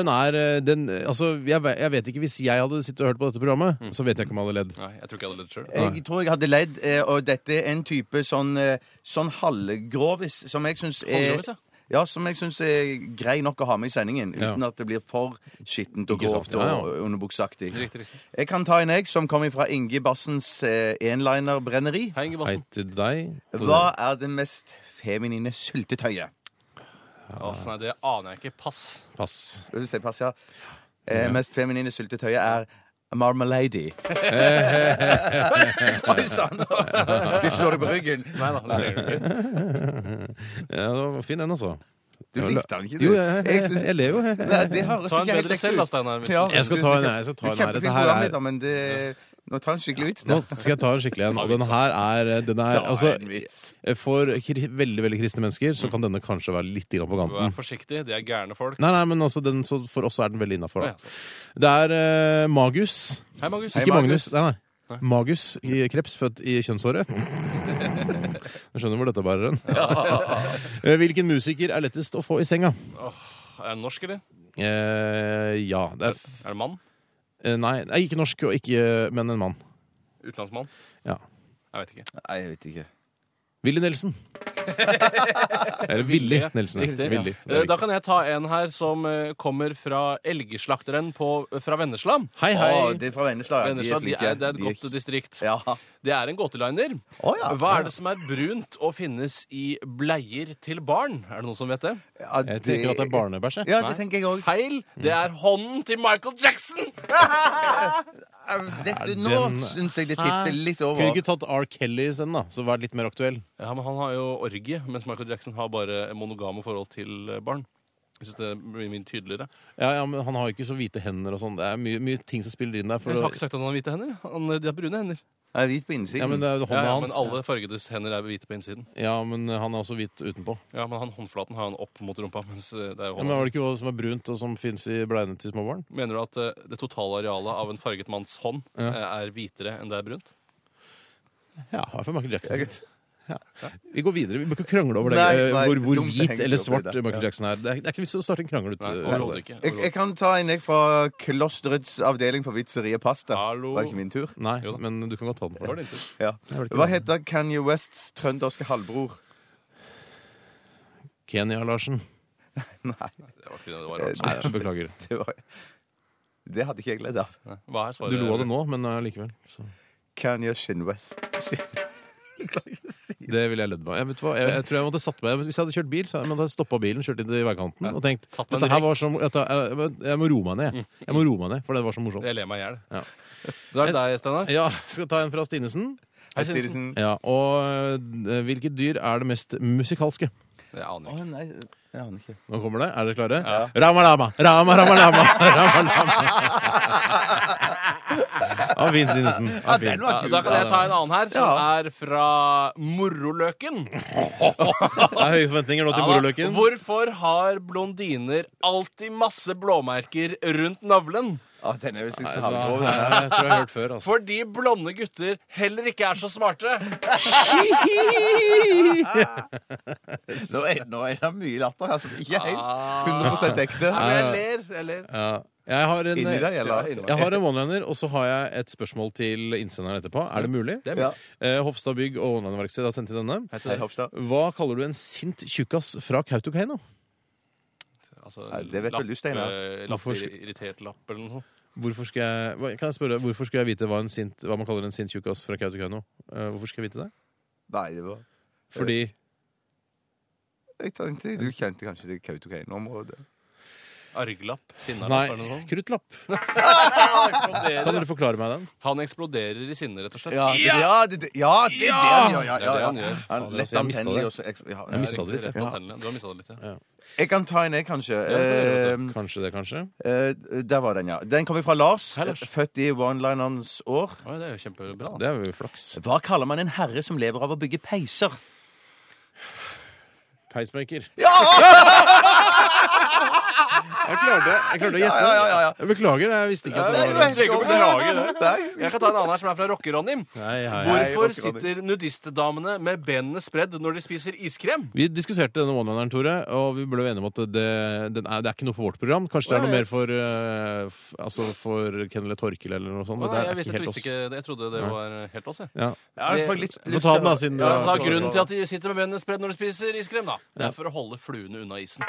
[SPEAKER 3] Den er eh, den, Altså, jeg, ve- jeg vet ikke Hvis jeg hadde sittet og hørt på dette programmet, så vet jeg ikke om jeg hadde ledd.
[SPEAKER 4] Mm. Nei, jeg tror ikke jeg hadde ledd sjøl.
[SPEAKER 5] Jeg tror jeg hadde ledd, eh, og dette er en type sånn, eh, sånn halvgrovis som jeg syns er
[SPEAKER 4] Halvgrovis, ja.
[SPEAKER 5] Ja, som jeg syns er grei nok å ha med i sendingen, uten
[SPEAKER 3] Ja.
[SPEAKER 5] at det blir for skittent og
[SPEAKER 3] Ikke sant,
[SPEAKER 5] grovt og
[SPEAKER 3] ja, ja.
[SPEAKER 5] og underbukseaktig.
[SPEAKER 4] Riktig, riktig.
[SPEAKER 5] Jeg kan ta en egg som kommer fra Inge Bassens eh, enliner-brenneri.
[SPEAKER 4] Hei, Inge
[SPEAKER 3] Hei
[SPEAKER 4] Bassen.
[SPEAKER 3] til deg.
[SPEAKER 5] Hva er det mest feminine syltetøyet?
[SPEAKER 4] Åh, nei, det aner jeg ikke. Pass.
[SPEAKER 3] Pass.
[SPEAKER 5] Vil du si pass, ja? Eh, mest feminine syltetøyet er marmalady. Oi sann! De slår deg på ryggen.
[SPEAKER 4] Nei da. det gjør jeg ikke.
[SPEAKER 3] Ja, det var fin den, altså.
[SPEAKER 5] Du likte den ikke, du.
[SPEAKER 3] Jo, jeg, jeg,
[SPEAKER 5] Jeg synes-
[SPEAKER 3] jeg lever jo. jeg-
[SPEAKER 5] Nei, det høres ikke
[SPEAKER 4] Ta en
[SPEAKER 5] helt
[SPEAKER 4] bedre
[SPEAKER 5] riktig
[SPEAKER 4] selv, da,
[SPEAKER 5] ut.
[SPEAKER 4] Steinar. hvis
[SPEAKER 5] Ja.
[SPEAKER 4] du-
[SPEAKER 3] Jeg skal ta en her. Jeg skal
[SPEAKER 5] Du
[SPEAKER 3] ta
[SPEAKER 5] er
[SPEAKER 3] en her.
[SPEAKER 5] kjempeflink
[SPEAKER 3] Dette her er
[SPEAKER 5] programleder, liksom, men det, nå tar en skikkelig vits.
[SPEAKER 3] nå skal jeg ta en skikkelig en. Og den her er, den er altså, For kri- veldig veldig kristne mennesker så kan denne kanskje være litt grann på
[SPEAKER 4] Vær
[SPEAKER 3] kanten.
[SPEAKER 4] forsiktig. Det er gærne folk.
[SPEAKER 3] Nei, nei, men altså, den, så for oss er den veldig innafor.
[SPEAKER 4] Å, ja,
[SPEAKER 3] Det er eh, Magus.
[SPEAKER 4] Hei, Magnus.
[SPEAKER 3] Ikke Magnus. Nei, nei. Magus i kreps, født i kjønnsåret. Jeg skjønner hvor dette bærer den. Eh, Hvilken musiker er lettest å få i senga?
[SPEAKER 4] Er han norsk, eller?
[SPEAKER 3] Eh, ja, det er f-
[SPEAKER 4] Er det mann?
[SPEAKER 3] eh, Nei, nei, ikke norsk, og ikke, men en mann.
[SPEAKER 4] Utenlandsmann?
[SPEAKER 3] Ja.
[SPEAKER 4] Jeg vet ikke.
[SPEAKER 5] Nei, jeg vet ikke.
[SPEAKER 3] Willy Nelson. Eller Willy Nelson.
[SPEAKER 4] Riktig.
[SPEAKER 3] Willy.
[SPEAKER 4] Eh, Da kan jeg ta en her som eh, kommer fra elgeslakteren på, fra Vennesla.
[SPEAKER 3] Hei, hei.
[SPEAKER 5] Å, det er fra Vennesla. ja.
[SPEAKER 4] Vennesla de er, det er et
[SPEAKER 5] De
[SPEAKER 4] godt distrikt.
[SPEAKER 5] Ja.
[SPEAKER 4] Det er en gåteliner.
[SPEAKER 5] Å, ja.
[SPEAKER 4] Hva er det som er brunt og finnes i bleier til barn? Er det noen som vet det?
[SPEAKER 5] Ja,
[SPEAKER 3] Jeg tenker at det er barnebæsj, jeg.
[SPEAKER 5] Ja, det tenker jeg òg.
[SPEAKER 4] Feil! Det er hånden til Michael Jackson!
[SPEAKER 5] Dette nå
[SPEAKER 3] Den-
[SPEAKER 5] syns jeg det titter litt over.
[SPEAKER 3] Kunne ikke tatt R. Kelly isteden, da? Så vært litt mer aktuell.
[SPEAKER 4] Ja, men Han har jo orgie, mens Michael Jackson har bare monogame forhold til eh, barn. Jeg synes det blir mye tydeligere.
[SPEAKER 3] Ja, ja, men Han har jo ikke så hvite hender og sånn. Det er mye, mye ting som spiller inn der. For
[SPEAKER 4] Jeg har
[SPEAKER 3] å,
[SPEAKER 4] ikke sagt at han har hvite hender. Han, de har brune hender.
[SPEAKER 5] Jeg er hvit på innsiden.
[SPEAKER 3] ja, men det er jo
[SPEAKER 4] Ja,
[SPEAKER 3] hånda
[SPEAKER 4] ja, men
[SPEAKER 3] hans.
[SPEAKER 4] alle fargedes hender er hvite på innsiden.
[SPEAKER 3] Ja, men han er også hvit utenpå.
[SPEAKER 4] Ja, men han Håndflaten har han opp mot rumpa. mens eh, det er jo
[SPEAKER 3] Ja, men
[SPEAKER 4] hånda.
[SPEAKER 3] Var det ikke hva som er brunt, og som fins i bleiene til små barn?
[SPEAKER 4] Mener du at eh, det totale arealet av en farget manns hånd
[SPEAKER 3] Ja.
[SPEAKER 4] eh, er hvitere enn det er brunt?
[SPEAKER 3] Ja, i hvert fall Michael Jackson. sitt. Ja. Vi går videre. Vi bør ikke krangle over det,
[SPEAKER 5] Nei,
[SPEAKER 3] eh,
[SPEAKER 5] nei,
[SPEAKER 3] hvor, hvor
[SPEAKER 5] dumt, det
[SPEAKER 3] hvit
[SPEAKER 5] henger
[SPEAKER 3] eller
[SPEAKER 5] seg opp i
[SPEAKER 3] svart
[SPEAKER 5] det.
[SPEAKER 3] Michael Jackson er. Det er, det er ikke vits å starte en krangel ut. eh,
[SPEAKER 4] Nei,
[SPEAKER 3] av
[SPEAKER 4] overhodet
[SPEAKER 3] det.
[SPEAKER 4] ikke.
[SPEAKER 5] Jeg, jeg kan ta en jeg fra Klosterets avdeling for vitseri og pasta.
[SPEAKER 4] Hallo.
[SPEAKER 5] Var det ikke min tur?
[SPEAKER 3] Nei,
[SPEAKER 4] Jo da.
[SPEAKER 3] men du kan godt ta den for deg.
[SPEAKER 4] Overhodet ikke.
[SPEAKER 5] Ja.
[SPEAKER 3] var det ikke
[SPEAKER 5] Hva
[SPEAKER 3] det.
[SPEAKER 5] heter Kanye Wests trønderske halvbror?
[SPEAKER 3] Kenya Larsen.
[SPEAKER 5] Nei,
[SPEAKER 4] Det var ikke det, det var rart.
[SPEAKER 3] Nei, beklager.
[SPEAKER 5] det var Det hadde ikke jeg gledd av.
[SPEAKER 4] Nei. Hva er svaret?
[SPEAKER 3] Du lo av det nå, men eh, likevel. Så.
[SPEAKER 5] Kanye Shin West.
[SPEAKER 3] Det ville jeg ledd meg. Jeg, vet du hva, jeg, jeg tror jeg måtte satt meg Hvis jeg hadde kjørt bil, så hadde jeg stoppa bilen, kjørt inn til veikanten og tenkt
[SPEAKER 4] Tatt meg en Mm.
[SPEAKER 3] dette her var som, dette, jeg, jeg må roe meg ned. jeg. Jeg må roe meg ned, for det var så morsomt.
[SPEAKER 4] Jeg ler meg i hjel.
[SPEAKER 3] Ja.
[SPEAKER 4] Da er det deg, Steinar.
[SPEAKER 3] Ja, skal ta en fra Stinesen.
[SPEAKER 5] Hei, Stinesen.
[SPEAKER 3] Ja, og eh, hvilket dyr er det mest musikalske?
[SPEAKER 4] Jeg aner
[SPEAKER 5] Å
[SPEAKER 4] ikke.
[SPEAKER 5] nei, jeg aner ikke.
[SPEAKER 3] Nå kommer det. Er dere klare? Rama lama, rama rama lama, rama lama. Av Vin Stinesen. Ja,
[SPEAKER 5] den var
[SPEAKER 4] Ja, da kan jeg ta en annen her, som er fra Moroløken.
[SPEAKER 3] Det er høye forventninger nå til moroløken.
[SPEAKER 4] Hvorfor har blondiner alltid masse blåmerker rundt navlen?
[SPEAKER 5] Å, den er visst ikke så
[SPEAKER 3] Ja,
[SPEAKER 5] halvgrov, den.
[SPEAKER 3] Jeg tror jeg har hørt før, altså.
[SPEAKER 4] Fordi blonde gutter heller ikke er så smarte.
[SPEAKER 3] altså.
[SPEAKER 5] Nå er, nå er det mye latter her som ikke er helt 100 ekte.
[SPEAKER 4] Men jeg ler. Jeg ler.
[SPEAKER 3] Ja. Jeg har en,
[SPEAKER 5] Inni deg, eller?
[SPEAKER 3] Jeg har en one-liner, og så har jeg et spørsmål til innsenderen etterpå. Er det mulig?
[SPEAKER 5] mulig. Ja.
[SPEAKER 3] Eh, Hofstad Bygg og Online-verksted har sendt inn denne.
[SPEAKER 5] Hei, Hofstad.
[SPEAKER 3] Hva kaller du en sint tjukkas fra Kautokeino?
[SPEAKER 4] Altså,
[SPEAKER 5] Nei, det vet vel du, Steinar.
[SPEAKER 4] eh,
[SPEAKER 3] Hvorfor
[SPEAKER 4] Lapper,
[SPEAKER 3] skal-
[SPEAKER 4] irritert lapp eller noe sånt.
[SPEAKER 3] Hvorfor skal jeg, hva- kan jeg spørre, hvorfor skal jeg vite hva, en sint, hva man kaller en sint tjukkas fra Kautokeino? Eh, hvorfor skal jeg vite det?
[SPEAKER 5] Nei, det var
[SPEAKER 3] Fordi
[SPEAKER 5] Jeg tenkte, Du kjente kanskje til Kautokeino-området?
[SPEAKER 4] Arglapp?
[SPEAKER 3] Nei,
[SPEAKER 4] Sinnalapp eller noe sånt?
[SPEAKER 3] kruttlapp. Kan
[SPEAKER 4] Eksploderer.
[SPEAKER 3] dere forklare meg den?
[SPEAKER 4] Han eksploderer i sinne, rett og slett.
[SPEAKER 5] Ja, det, ja, det, det, ja, det er det han gjør! Ja,
[SPEAKER 4] Det
[SPEAKER 5] ja,
[SPEAKER 4] er det han
[SPEAKER 5] ja.
[SPEAKER 4] gjør.
[SPEAKER 5] Han
[SPEAKER 3] Fader, altså,
[SPEAKER 5] lett
[SPEAKER 3] jeg mistet
[SPEAKER 5] antennelig
[SPEAKER 3] det.
[SPEAKER 5] og så ja,
[SPEAKER 3] Jeg mistet
[SPEAKER 5] ja,
[SPEAKER 3] det litt,
[SPEAKER 4] Rett
[SPEAKER 3] jeg.
[SPEAKER 4] på
[SPEAKER 5] Ja.
[SPEAKER 4] tennene. Du har mista det litt, ja.
[SPEAKER 5] Jeg kan ta en, jeg, kanskje.
[SPEAKER 4] det
[SPEAKER 5] Eh,
[SPEAKER 3] Kanskje det, kanskje?
[SPEAKER 5] eh, der var den, ja. Den kommer fra Lars.
[SPEAKER 4] Hei, Lars.
[SPEAKER 5] Født i one-linerens år.
[SPEAKER 4] Oi, det er jo kjempebra.
[SPEAKER 3] Det er jo flaks.
[SPEAKER 5] Hva kaller man en herre som lever av å bygge peiser?
[SPEAKER 3] Peismaker.
[SPEAKER 5] Ja!
[SPEAKER 3] Jeg klarte, jeg klarte å gjette.
[SPEAKER 5] Ja, ja, ja, ja.
[SPEAKER 3] Jeg beklager, jeg visste ikke at
[SPEAKER 5] Nei,
[SPEAKER 3] det
[SPEAKER 5] nei,
[SPEAKER 3] var
[SPEAKER 5] nei.
[SPEAKER 4] Trenger ikke å beklage det.
[SPEAKER 5] Nei.
[SPEAKER 4] Jeg kan ta en annen her som er fra Rockeronnym.
[SPEAKER 3] Hei, hei, hei.
[SPEAKER 4] Hvorfor
[SPEAKER 5] Rocker-Ronny.
[SPEAKER 4] sitter nudistdamene med benene spredd når de spiser iskrem?
[SPEAKER 3] Vi diskuterte denne one-lineren, Tore, og vi ble jo enige om at det, den er, det er ikke noe for vårt program. Kanskje det er noe mer for, eh, f, altså for Kenneth Torkel eller noe sånt. men
[SPEAKER 4] Nei,
[SPEAKER 3] det er
[SPEAKER 4] jeg, vet,
[SPEAKER 3] ikke
[SPEAKER 4] jeg,
[SPEAKER 3] helt
[SPEAKER 4] visste
[SPEAKER 3] oss.
[SPEAKER 4] ikke, det. jeg trodde det
[SPEAKER 3] Nei.
[SPEAKER 4] var eh, helt oss, jeg.
[SPEAKER 3] Ja.
[SPEAKER 5] Ja,
[SPEAKER 4] Det-
[SPEAKER 5] for litt-
[SPEAKER 3] Du får ta den, da, siden
[SPEAKER 4] Ja,
[SPEAKER 3] du
[SPEAKER 4] da,
[SPEAKER 3] har-
[SPEAKER 4] grunnen til at de sitter med benene spredd når de spiser iskrem, da. Det er for å holde fluene unna isen.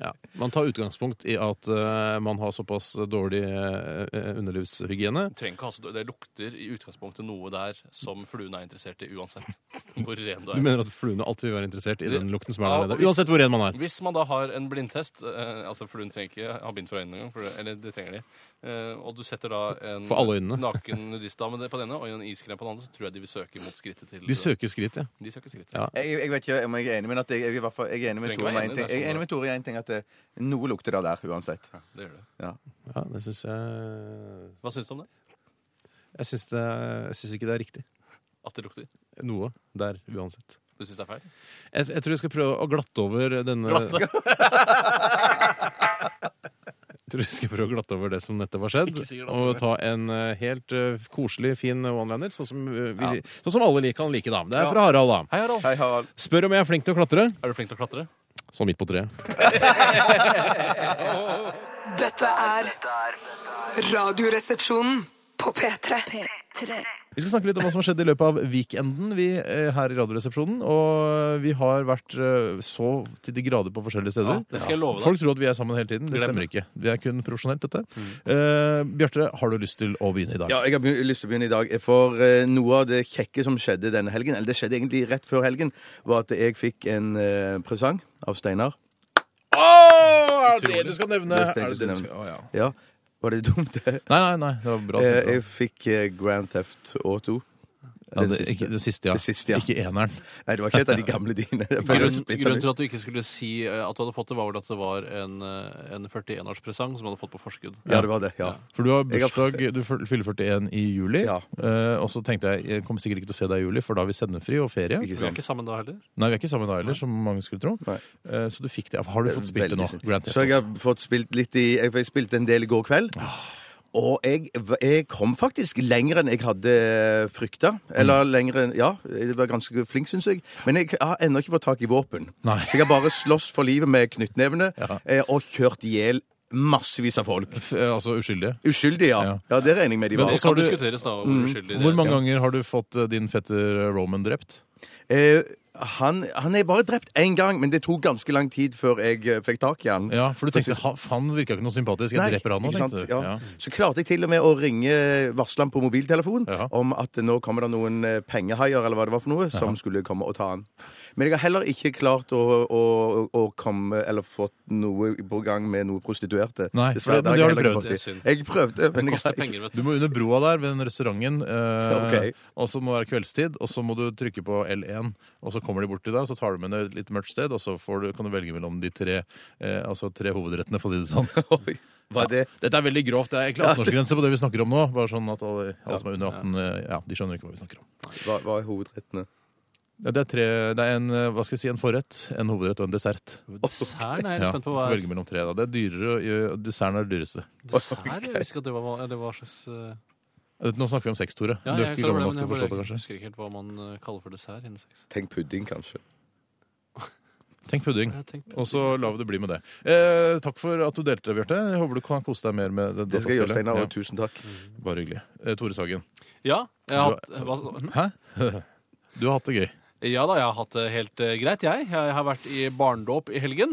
[SPEAKER 3] Ja. Man tar utgangspunkt i at eh, man har såpass dårlig eh, eh, underlivshygiene.
[SPEAKER 4] Du trenger ikke ha så- Det lukter i utgangspunktet noe der som fluene er interessert i, uansett hvor ren du
[SPEAKER 3] Du
[SPEAKER 4] er.
[SPEAKER 3] mener at fluene alltid vil være interessert i den lukten som er
[SPEAKER 4] Ja,
[SPEAKER 3] der
[SPEAKER 4] og
[SPEAKER 3] nede?
[SPEAKER 4] hvis-
[SPEAKER 3] Uansett hvor ren man er.
[SPEAKER 4] Hvis man da har en blindtest eh, Altså Fluen trenger ikke ha bind for øynene engang, for det- eller det trenger de. Eh, og du setter da en
[SPEAKER 3] For alle øynene.
[SPEAKER 4] naken nudistdame på den ene og en iskrem på den andre, så tror jeg de vil søke mot skrittet til
[SPEAKER 3] De søker skritt, ja.
[SPEAKER 4] De søker skritt.
[SPEAKER 3] Ja.
[SPEAKER 5] Jeg, jeg vet ikke om jeg er enig, men at jeg, jeg, er i hvert fall, jeg er enig med
[SPEAKER 4] Trenger
[SPEAKER 5] Tore
[SPEAKER 4] ikke være
[SPEAKER 5] i en
[SPEAKER 4] enig,
[SPEAKER 5] ting.
[SPEAKER 4] det er
[SPEAKER 5] Jeg er
[SPEAKER 4] sånn
[SPEAKER 5] enig med Tore i en ting at det, noe lukter det der uansett.
[SPEAKER 4] Ja, det gjør det.
[SPEAKER 3] ja det syns jeg
[SPEAKER 4] Hva syns du om det?
[SPEAKER 3] Jeg syns det- jeg syns ikke det er riktig.
[SPEAKER 4] At det lukter?
[SPEAKER 3] Noe der, uansett.
[SPEAKER 4] Du syns det er feil?
[SPEAKER 3] Jeg, jeg tror jeg skal prøve å glatte over denne
[SPEAKER 4] Glatte.
[SPEAKER 3] Jeg tror jeg skal prøve å glatte over det som nettopp har skjedd.
[SPEAKER 4] Ikke si glatte over.
[SPEAKER 3] Og ta en eh, helt eh, koselig, fin one-liner, sånn som, eh, vi, sånn som alle lik- kan like, da. Det er fra Harald, da.
[SPEAKER 4] Hei, Harald.
[SPEAKER 5] Hei, Harald.
[SPEAKER 3] Spør om jeg er flink til å klatre.
[SPEAKER 4] Er du flink til å klatre?
[SPEAKER 3] Sånn midt på treet.
[SPEAKER 6] Dette er Radioresepsjonen på P3.
[SPEAKER 3] Vi skal snakke litt om hva som har skjedd i løpet av weekenden vi, eh, her i Radioresepsjonen. Og vi har vært eh, så til de grader på forskjellige steder.
[SPEAKER 4] Ja, det skal jeg love deg.
[SPEAKER 3] Folk tror at vi er sammen hele tiden. Det
[SPEAKER 4] Glem
[SPEAKER 3] stemmer
[SPEAKER 4] det. Mm.
[SPEAKER 3] ikke. Vi er kun profesjonelt, dette. Eh, Bjarte, har du lyst til å begynne i dag?
[SPEAKER 5] Ja, jeg har begy- lyst til å begynne i dag. For eh, noe av det kjekke som skjedde denne helgen, eller det skjedde egentlig rett før helgen, var at jeg fikk en eh, presang av Steinar.
[SPEAKER 3] Åh, er det det du skal nevne?
[SPEAKER 5] Det
[SPEAKER 3] Er
[SPEAKER 5] tenkte
[SPEAKER 3] det det du
[SPEAKER 5] jeg
[SPEAKER 3] skal...
[SPEAKER 5] skulle
[SPEAKER 3] Å, ja.
[SPEAKER 5] Ja, var det dumt? det?
[SPEAKER 3] Nei, nei, nei. Det var bra.
[SPEAKER 5] Eh,
[SPEAKER 3] sikkert.
[SPEAKER 5] jeg fikk eh, Grand Theft Auto.
[SPEAKER 3] Ja, det, ikke, det siste, ja.
[SPEAKER 5] Det siste, ja.
[SPEAKER 3] Ikke eneren.
[SPEAKER 5] Nei, det var ikke et av de gamle dine. Jeg føler jeg
[SPEAKER 4] Grunnen,
[SPEAKER 5] splitter
[SPEAKER 4] grunnen
[SPEAKER 5] litt.
[SPEAKER 4] til at du ikke skulle si eh, at du hadde fått det, var vel at det var en, eh, en 41-årspresang som du hadde fått på forskudd.
[SPEAKER 5] Ja, det var det. Ja.
[SPEAKER 3] For du har
[SPEAKER 5] Jeg har-
[SPEAKER 3] bursdag, du fyl- fyller 41 i juli.
[SPEAKER 5] Ja.
[SPEAKER 3] Eh, og så tenkte jeg jeg kommer sikkert ikke til å se deg i juli, for da har vi sendefri og ferie.
[SPEAKER 5] Ikke
[SPEAKER 4] Vi er
[SPEAKER 5] sant?
[SPEAKER 4] ikke sammen da heller.
[SPEAKER 3] Nei, vi er ikke sammen da heller, som mange skulle tro.
[SPEAKER 5] Nei.
[SPEAKER 3] Eh, så du fikk det. Har du fått spilt det nå?
[SPEAKER 5] Veldig sint.
[SPEAKER 3] Grand Theft
[SPEAKER 5] Så jeg
[SPEAKER 3] Auto?
[SPEAKER 5] har fått spilt litt i Jeg, jeg spilte en del i går kveld.
[SPEAKER 3] Ah.
[SPEAKER 5] Og jeg, jeg kom faktisk lenger enn jeg hadde frykta. Eller
[SPEAKER 3] Mm.
[SPEAKER 5] lenger enn Ja, jeg var ganske flink, syns jeg. Men jeg har ennå ikke fått tak i våpen.
[SPEAKER 3] Nei.
[SPEAKER 5] Så jeg har bare slåss for livet med knyttnevene
[SPEAKER 3] Ja.
[SPEAKER 5] eh, og kjørt i hjel massevis av folk.
[SPEAKER 3] F- eh, altså uskyldige.
[SPEAKER 5] Uskyldige,
[SPEAKER 3] Ja.
[SPEAKER 5] ja. Ja, det regner jeg med de
[SPEAKER 3] Men
[SPEAKER 5] var.
[SPEAKER 4] Det
[SPEAKER 3] også har
[SPEAKER 4] kan
[SPEAKER 3] du- Mm.
[SPEAKER 4] diskuteres, da. Hvor uskyldig
[SPEAKER 3] Hvor
[SPEAKER 4] det er.
[SPEAKER 3] mange ganger har du fått eh, din fetter Roman drept?
[SPEAKER 5] Eh, han, han er bare drept én gang, men det tok ganske lang tid før jeg eh, fikk tak i han.
[SPEAKER 3] Ja, for du tenkte ha, han virka ikke noe sympatisk, jeg dreper han nå,
[SPEAKER 5] ikke
[SPEAKER 3] tenkte
[SPEAKER 5] sant?
[SPEAKER 3] du.
[SPEAKER 5] Ja.
[SPEAKER 3] Ja.
[SPEAKER 5] Så klarte jeg til og med å ringe varsleren på mobiltelefonen
[SPEAKER 3] Ja.
[SPEAKER 5] om at nå kommer det noen eh, pengehaier eller hva det var for noe, som skulle komme og ta han. Men jeg har heller ikke klart å, å, å komme eller fått noe på gang med noen prostituerte.
[SPEAKER 3] Nei,
[SPEAKER 5] Dessverre,
[SPEAKER 3] for det- men det har
[SPEAKER 5] jeg
[SPEAKER 3] du
[SPEAKER 5] heller ikke
[SPEAKER 3] prøvd.
[SPEAKER 5] fått
[SPEAKER 4] Det er
[SPEAKER 5] til.
[SPEAKER 4] synd.
[SPEAKER 5] Jeg prøvde, men
[SPEAKER 4] Det
[SPEAKER 5] jeg
[SPEAKER 4] koster
[SPEAKER 5] har ikke
[SPEAKER 4] penger, vet
[SPEAKER 3] Du
[SPEAKER 4] du.
[SPEAKER 3] må under broa der ved den restauranten, eh,
[SPEAKER 5] Ok.
[SPEAKER 3] og så må det være kveldstid. Og så må du trykke på L1, og så kommer de bort til deg, og så tar du med deg et litt mørkt sted, og så får du, kan du velge mellom de tre, eh, altså tre hovedrettene, for å si det sånn.
[SPEAKER 5] Oi, Var det
[SPEAKER 3] Dette er veldig grovt. Det er egentlig 18-årsgrense på det vi snakker om nå. Bare sånn at alle, alle som er under 18, eh, ja, de skjønner ikke hva vi snakker om.
[SPEAKER 5] var, var hovedrettene?
[SPEAKER 3] Ja, Det er, tre, det er en, eh, hva skal jeg si, en forrett, en hovedrett og en dessert.
[SPEAKER 4] Desserten er jeg litt
[SPEAKER 3] Ja,
[SPEAKER 4] spent på. Hva
[SPEAKER 3] Velge mellom tre, da. Det er dyrere, og gjør- desserten er det dyreste.
[SPEAKER 4] dessert jeg visste ikke at det var, eller hva slags eh,
[SPEAKER 3] Nå snakker vi om sex, Tore.
[SPEAKER 4] ja,
[SPEAKER 3] du er
[SPEAKER 4] jeg
[SPEAKER 3] ikke gammel
[SPEAKER 4] klarer det,
[SPEAKER 3] nok
[SPEAKER 4] men
[SPEAKER 3] til å
[SPEAKER 4] jeg
[SPEAKER 3] forstå
[SPEAKER 4] bare
[SPEAKER 3] det, kanskje.
[SPEAKER 4] husker ikke helt hva man eh, kaller for dessert innen sex.
[SPEAKER 5] Tenk pudding, kanskje.
[SPEAKER 3] Tenk pudding.
[SPEAKER 4] Jeg tenker på-
[SPEAKER 3] Og så la vi det bli med det. Eh, takk for at du delte, Bjarte. Jeg håper du kan kose deg mer med det
[SPEAKER 5] Det skal jeg gjøre, Steinar.
[SPEAKER 3] dataspillet.
[SPEAKER 5] og Tusen takk.
[SPEAKER 3] Ja, bare hyggelig. Eh, Tore Sagen.
[SPEAKER 4] Ja, jeg har hatt,
[SPEAKER 3] Du-
[SPEAKER 4] hva,
[SPEAKER 3] Hæ? Du har hatt det gøy.
[SPEAKER 4] Ja da, jeg har hatt det helt eh, greit, jeg. Jeg har vært i barndåp i helgen.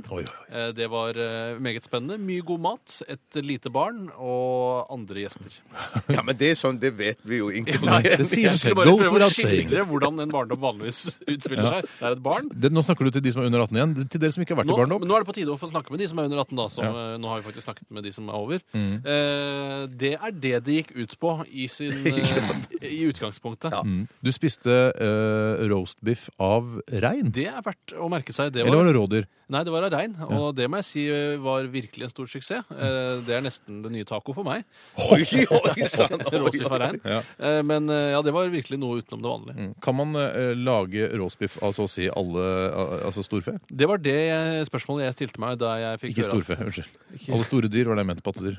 [SPEAKER 4] Eh, Det var eh, meget spennende. Mye god mat, et lite barn og andre gjester.
[SPEAKER 5] Ja, men det er sånn, det vet vi jo
[SPEAKER 4] Nei,
[SPEAKER 5] egentlig.
[SPEAKER 3] det sier
[SPEAKER 4] jeg
[SPEAKER 3] seg.
[SPEAKER 4] skal bare
[SPEAKER 3] Goes
[SPEAKER 4] prøve å
[SPEAKER 3] without saying.
[SPEAKER 4] skildre hvordan en barndom vanligvis utspiller seg. Det er et barn.
[SPEAKER 3] Det, nå snakker du til de som er under 18 igjen. Til dere som ikke har vært
[SPEAKER 4] Nå,
[SPEAKER 3] i barndom.
[SPEAKER 4] men nå er det på tide å få snakke med de som er under 18, da. Som, eh, Nå har vi faktisk snakket med de som er over. Eh, det er det det gikk ut på i, sin, eh, i utgangspunktet.
[SPEAKER 3] Mm. Du spiste uh, roast biff av rein?
[SPEAKER 4] Det er verdt å merke seg. Det
[SPEAKER 3] Eller var
[SPEAKER 4] var,
[SPEAKER 3] det rådyr?
[SPEAKER 4] nei, det var av rein, og det må jeg si eh, var virkelig en stor suksess. Eh, Det er nesten det nye taco for meg.
[SPEAKER 5] Oi, oi, sann!
[SPEAKER 4] Råsbiff av rein.
[SPEAKER 3] Ja.
[SPEAKER 4] Eh, Men eh, ja, det var virkelig noe utenom det vanlige.
[SPEAKER 3] Kan man eh, lage råsbiff av så å si alle al- altså storfe?
[SPEAKER 4] Det var det jeg- spørsmålet jeg stilte meg da jeg fikk
[SPEAKER 3] Ikke
[SPEAKER 4] høre at-
[SPEAKER 3] storfe, unnskyld. Alle store dyr var det jeg mente. Pattedyr.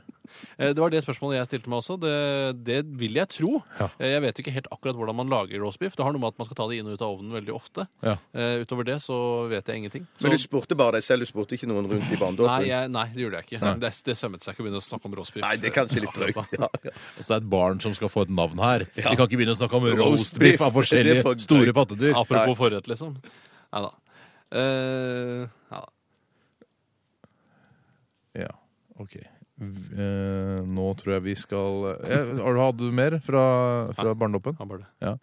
[SPEAKER 4] Eh, Det var det spørsmålet jeg stilte meg også. Det, det vil jeg tro.
[SPEAKER 3] Ja.
[SPEAKER 4] Eh, Jeg vet ikke helt akkurat hvordan man lager roastbiff. Det har noe med at man skal ta det inn og ut av ovnen veldig ofte.
[SPEAKER 3] Ja.
[SPEAKER 4] Eh, utover det så vet jeg ingenting. Så,
[SPEAKER 5] Men du spurte bare deg selv, du spurte ikke noen rundt i
[SPEAKER 4] nei,
[SPEAKER 5] barnedåpen?
[SPEAKER 4] jeg, nei, det gjorde jeg ikke. Det, det sømmet seg ikke å begynne å snakke om roastbiff.
[SPEAKER 5] Nei, det er kanskje litt drøyt. Ja.
[SPEAKER 3] Altså, det er et barn som skal få et navn her. Vi kan ikke begynne å snakke om
[SPEAKER 5] Roastbiff.
[SPEAKER 3] roastbiff
[SPEAKER 5] Det
[SPEAKER 3] av
[SPEAKER 5] er
[SPEAKER 3] forskjellige
[SPEAKER 5] for drøyt.
[SPEAKER 3] store pattedyr.
[SPEAKER 4] Apropos forrett, liksom. Nei da. Eh, ja da.
[SPEAKER 3] Ja, ok. V- eh, nå tror jeg vi skal eh, Har du hatt mer fra, fra barndommen?
[SPEAKER 4] Han bare det.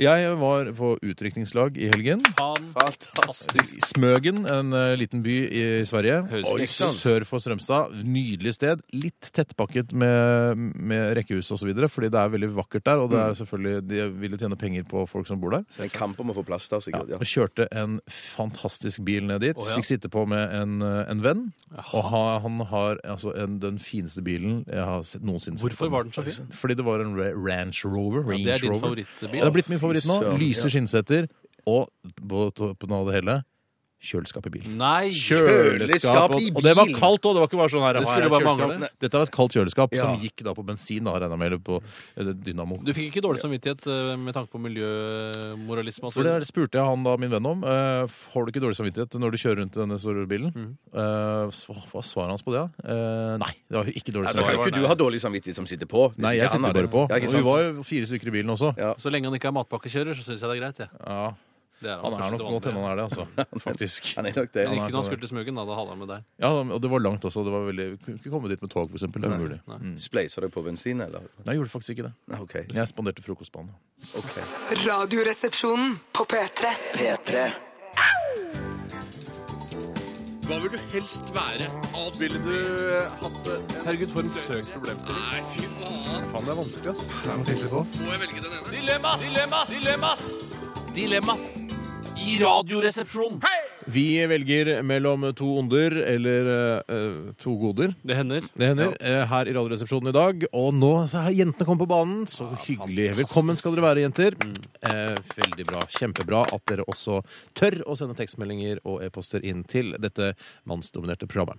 [SPEAKER 3] Jeg var på utdrikningslag i helgen.
[SPEAKER 5] Fantastisk.
[SPEAKER 3] I Smøgen, en eh, liten by i Sverige.
[SPEAKER 4] Høres
[SPEAKER 3] Oi,
[SPEAKER 4] ikke sant.
[SPEAKER 3] Sør for Strømstad. Nydelig sted. Litt tettpakket med, med rekkehus osv., fordi det er veldig vakkert der. Og det
[SPEAKER 4] Mm.
[SPEAKER 3] er selvfølgelig, de vil jo tjene penger på folk som bor der.
[SPEAKER 5] En kamp om å få plass der, sikkert.
[SPEAKER 3] Ja.
[SPEAKER 5] Ja.
[SPEAKER 3] Og kjørte en fantastisk bil ned dit.
[SPEAKER 4] Å, ja.
[SPEAKER 3] Fikk sitte på med en, eh, en venn. Og ha, han har altså en, den fineste bilen jeg har sett noensinne. sett på
[SPEAKER 4] Hvorfor
[SPEAKER 3] den.
[SPEAKER 4] var den så fin?
[SPEAKER 3] Fordi det var en Ra- Range Rover. Range
[SPEAKER 4] det er din
[SPEAKER 3] Rover.
[SPEAKER 4] favorittbil.
[SPEAKER 3] Det har blitt min favoritt nå.
[SPEAKER 5] Fy søren.
[SPEAKER 3] Lyse skinnseter. Og på toppen av det hele kjøleskap i bilen.
[SPEAKER 4] Nei!
[SPEAKER 5] Kjøleskap i
[SPEAKER 3] og- Og det var
[SPEAKER 5] bil.
[SPEAKER 3] kaldt òg! Det var ikke bare sånn her. her
[SPEAKER 4] Det
[SPEAKER 3] er
[SPEAKER 4] skulle bare
[SPEAKER 3] kjøleskap.
[SPEAKER 4] mangle.
[SPEAKER 3] Dette var et kaldt kjøleskap
[SPEAKER 5] Ja.
[SPEAKER 3] som gikk da på bensin, da, regner jeg med, eller på eller dynamo.
[SPEAKER 4] Du fikk ikke dårlig samvittighet eh, med tanke på miljømoralisme? og så
[SPEAKER 3] For det
[SPEAKER 4] videre?
[SPEAKER 3] er- spurte jeg han da, min venn om. eh, får du ikke dårlig samvittighet når du kjører rundt i denne store bilen? Eh, så, hva svarer hans på det? da? Eh, nei, det var ikke
[SPEAKER 5] Nei, da
[SPEAKER 3] dårlig
[SPEAKER 5] kan
[SPEAKER 3] samvittighet.
[SPEAKER 5] ikke du ha dårlig samvittighet som sitter på.
[SPEAKER 3] Nei, jeg sitter bare på.
[SPEAKER 5] Ja, ikke
[SPEAKER 3] Og vi
[SPEAKER 5] sant?
[SPEAKER 3] var jo fire stykker i bilen også.
[SPEAKER 5] Ja.
[SPEAKER 4] Så lenge han ikke er matpakkekjører, så syns jeg det er greit. Ja.
[SPEAKER 3] Ja, han
[SPEAKER 4] Det er
[SPEAKER 3] er
[SPEAKER 4] først
[SPEAKER 3] nok
[SPEAKER 4] til
[SPEAKER 3] godt
[SPEAKER 4] vanlig.
[SPEAKER 3] hende han er det, altså. Faktisk.
[SPEAKER 5] Han er nok det.
[SPEAKER 4] Men ikke
[SPEAKER 3] Han er
[SPEAKER 4] når han
[SPEAKER 3] på
[SPEAKER 4] skulle til Smugen, da. Da hadde han med deg.
[SPEAKER 3] Ja, og det var langt også. Det var veldig... Kunne ikke komme dit med tog, for eksempel. Det er umulig. Nei,
[SPEAKER 5] Spleiser deg på bensin, eller?
[SPEAKER 3] jeg gjorde faktisk ikke det.
[SPEAKER 5] OK.
[SPEAKER 3] Jeg spanderte frokost på han.
[SPEAKER 6] Radioresepsjonen på P3.
[SPEAKER 2] P3
[SPEAKER 4] Hva vil du helst være? Ville du hatt det? Herregud, for en søk problem til. Nei, fy faen. Faen, det er vanskelig, ass. Må jeg velge den ene? Dilemmas! Dilemmas! Dilemmas! Dilemmas! I radioresepsjonen!
[SPEAKER 3] Vi velger mellom to onder eller eh, to goder.
[SPEAKER 4] Det hender.
[SPEAKER 3] Det hender. eh, Her i Radioresepsjonen i dag. Og nå så har jentene kommet på banen. Så hyggelig. Velkommen skal dere være, jenter. Eh, veldig bra. Kjempebra at dere også tør å sende tekstmeldinger og e-poster inn til dette mannsdominerte programmet.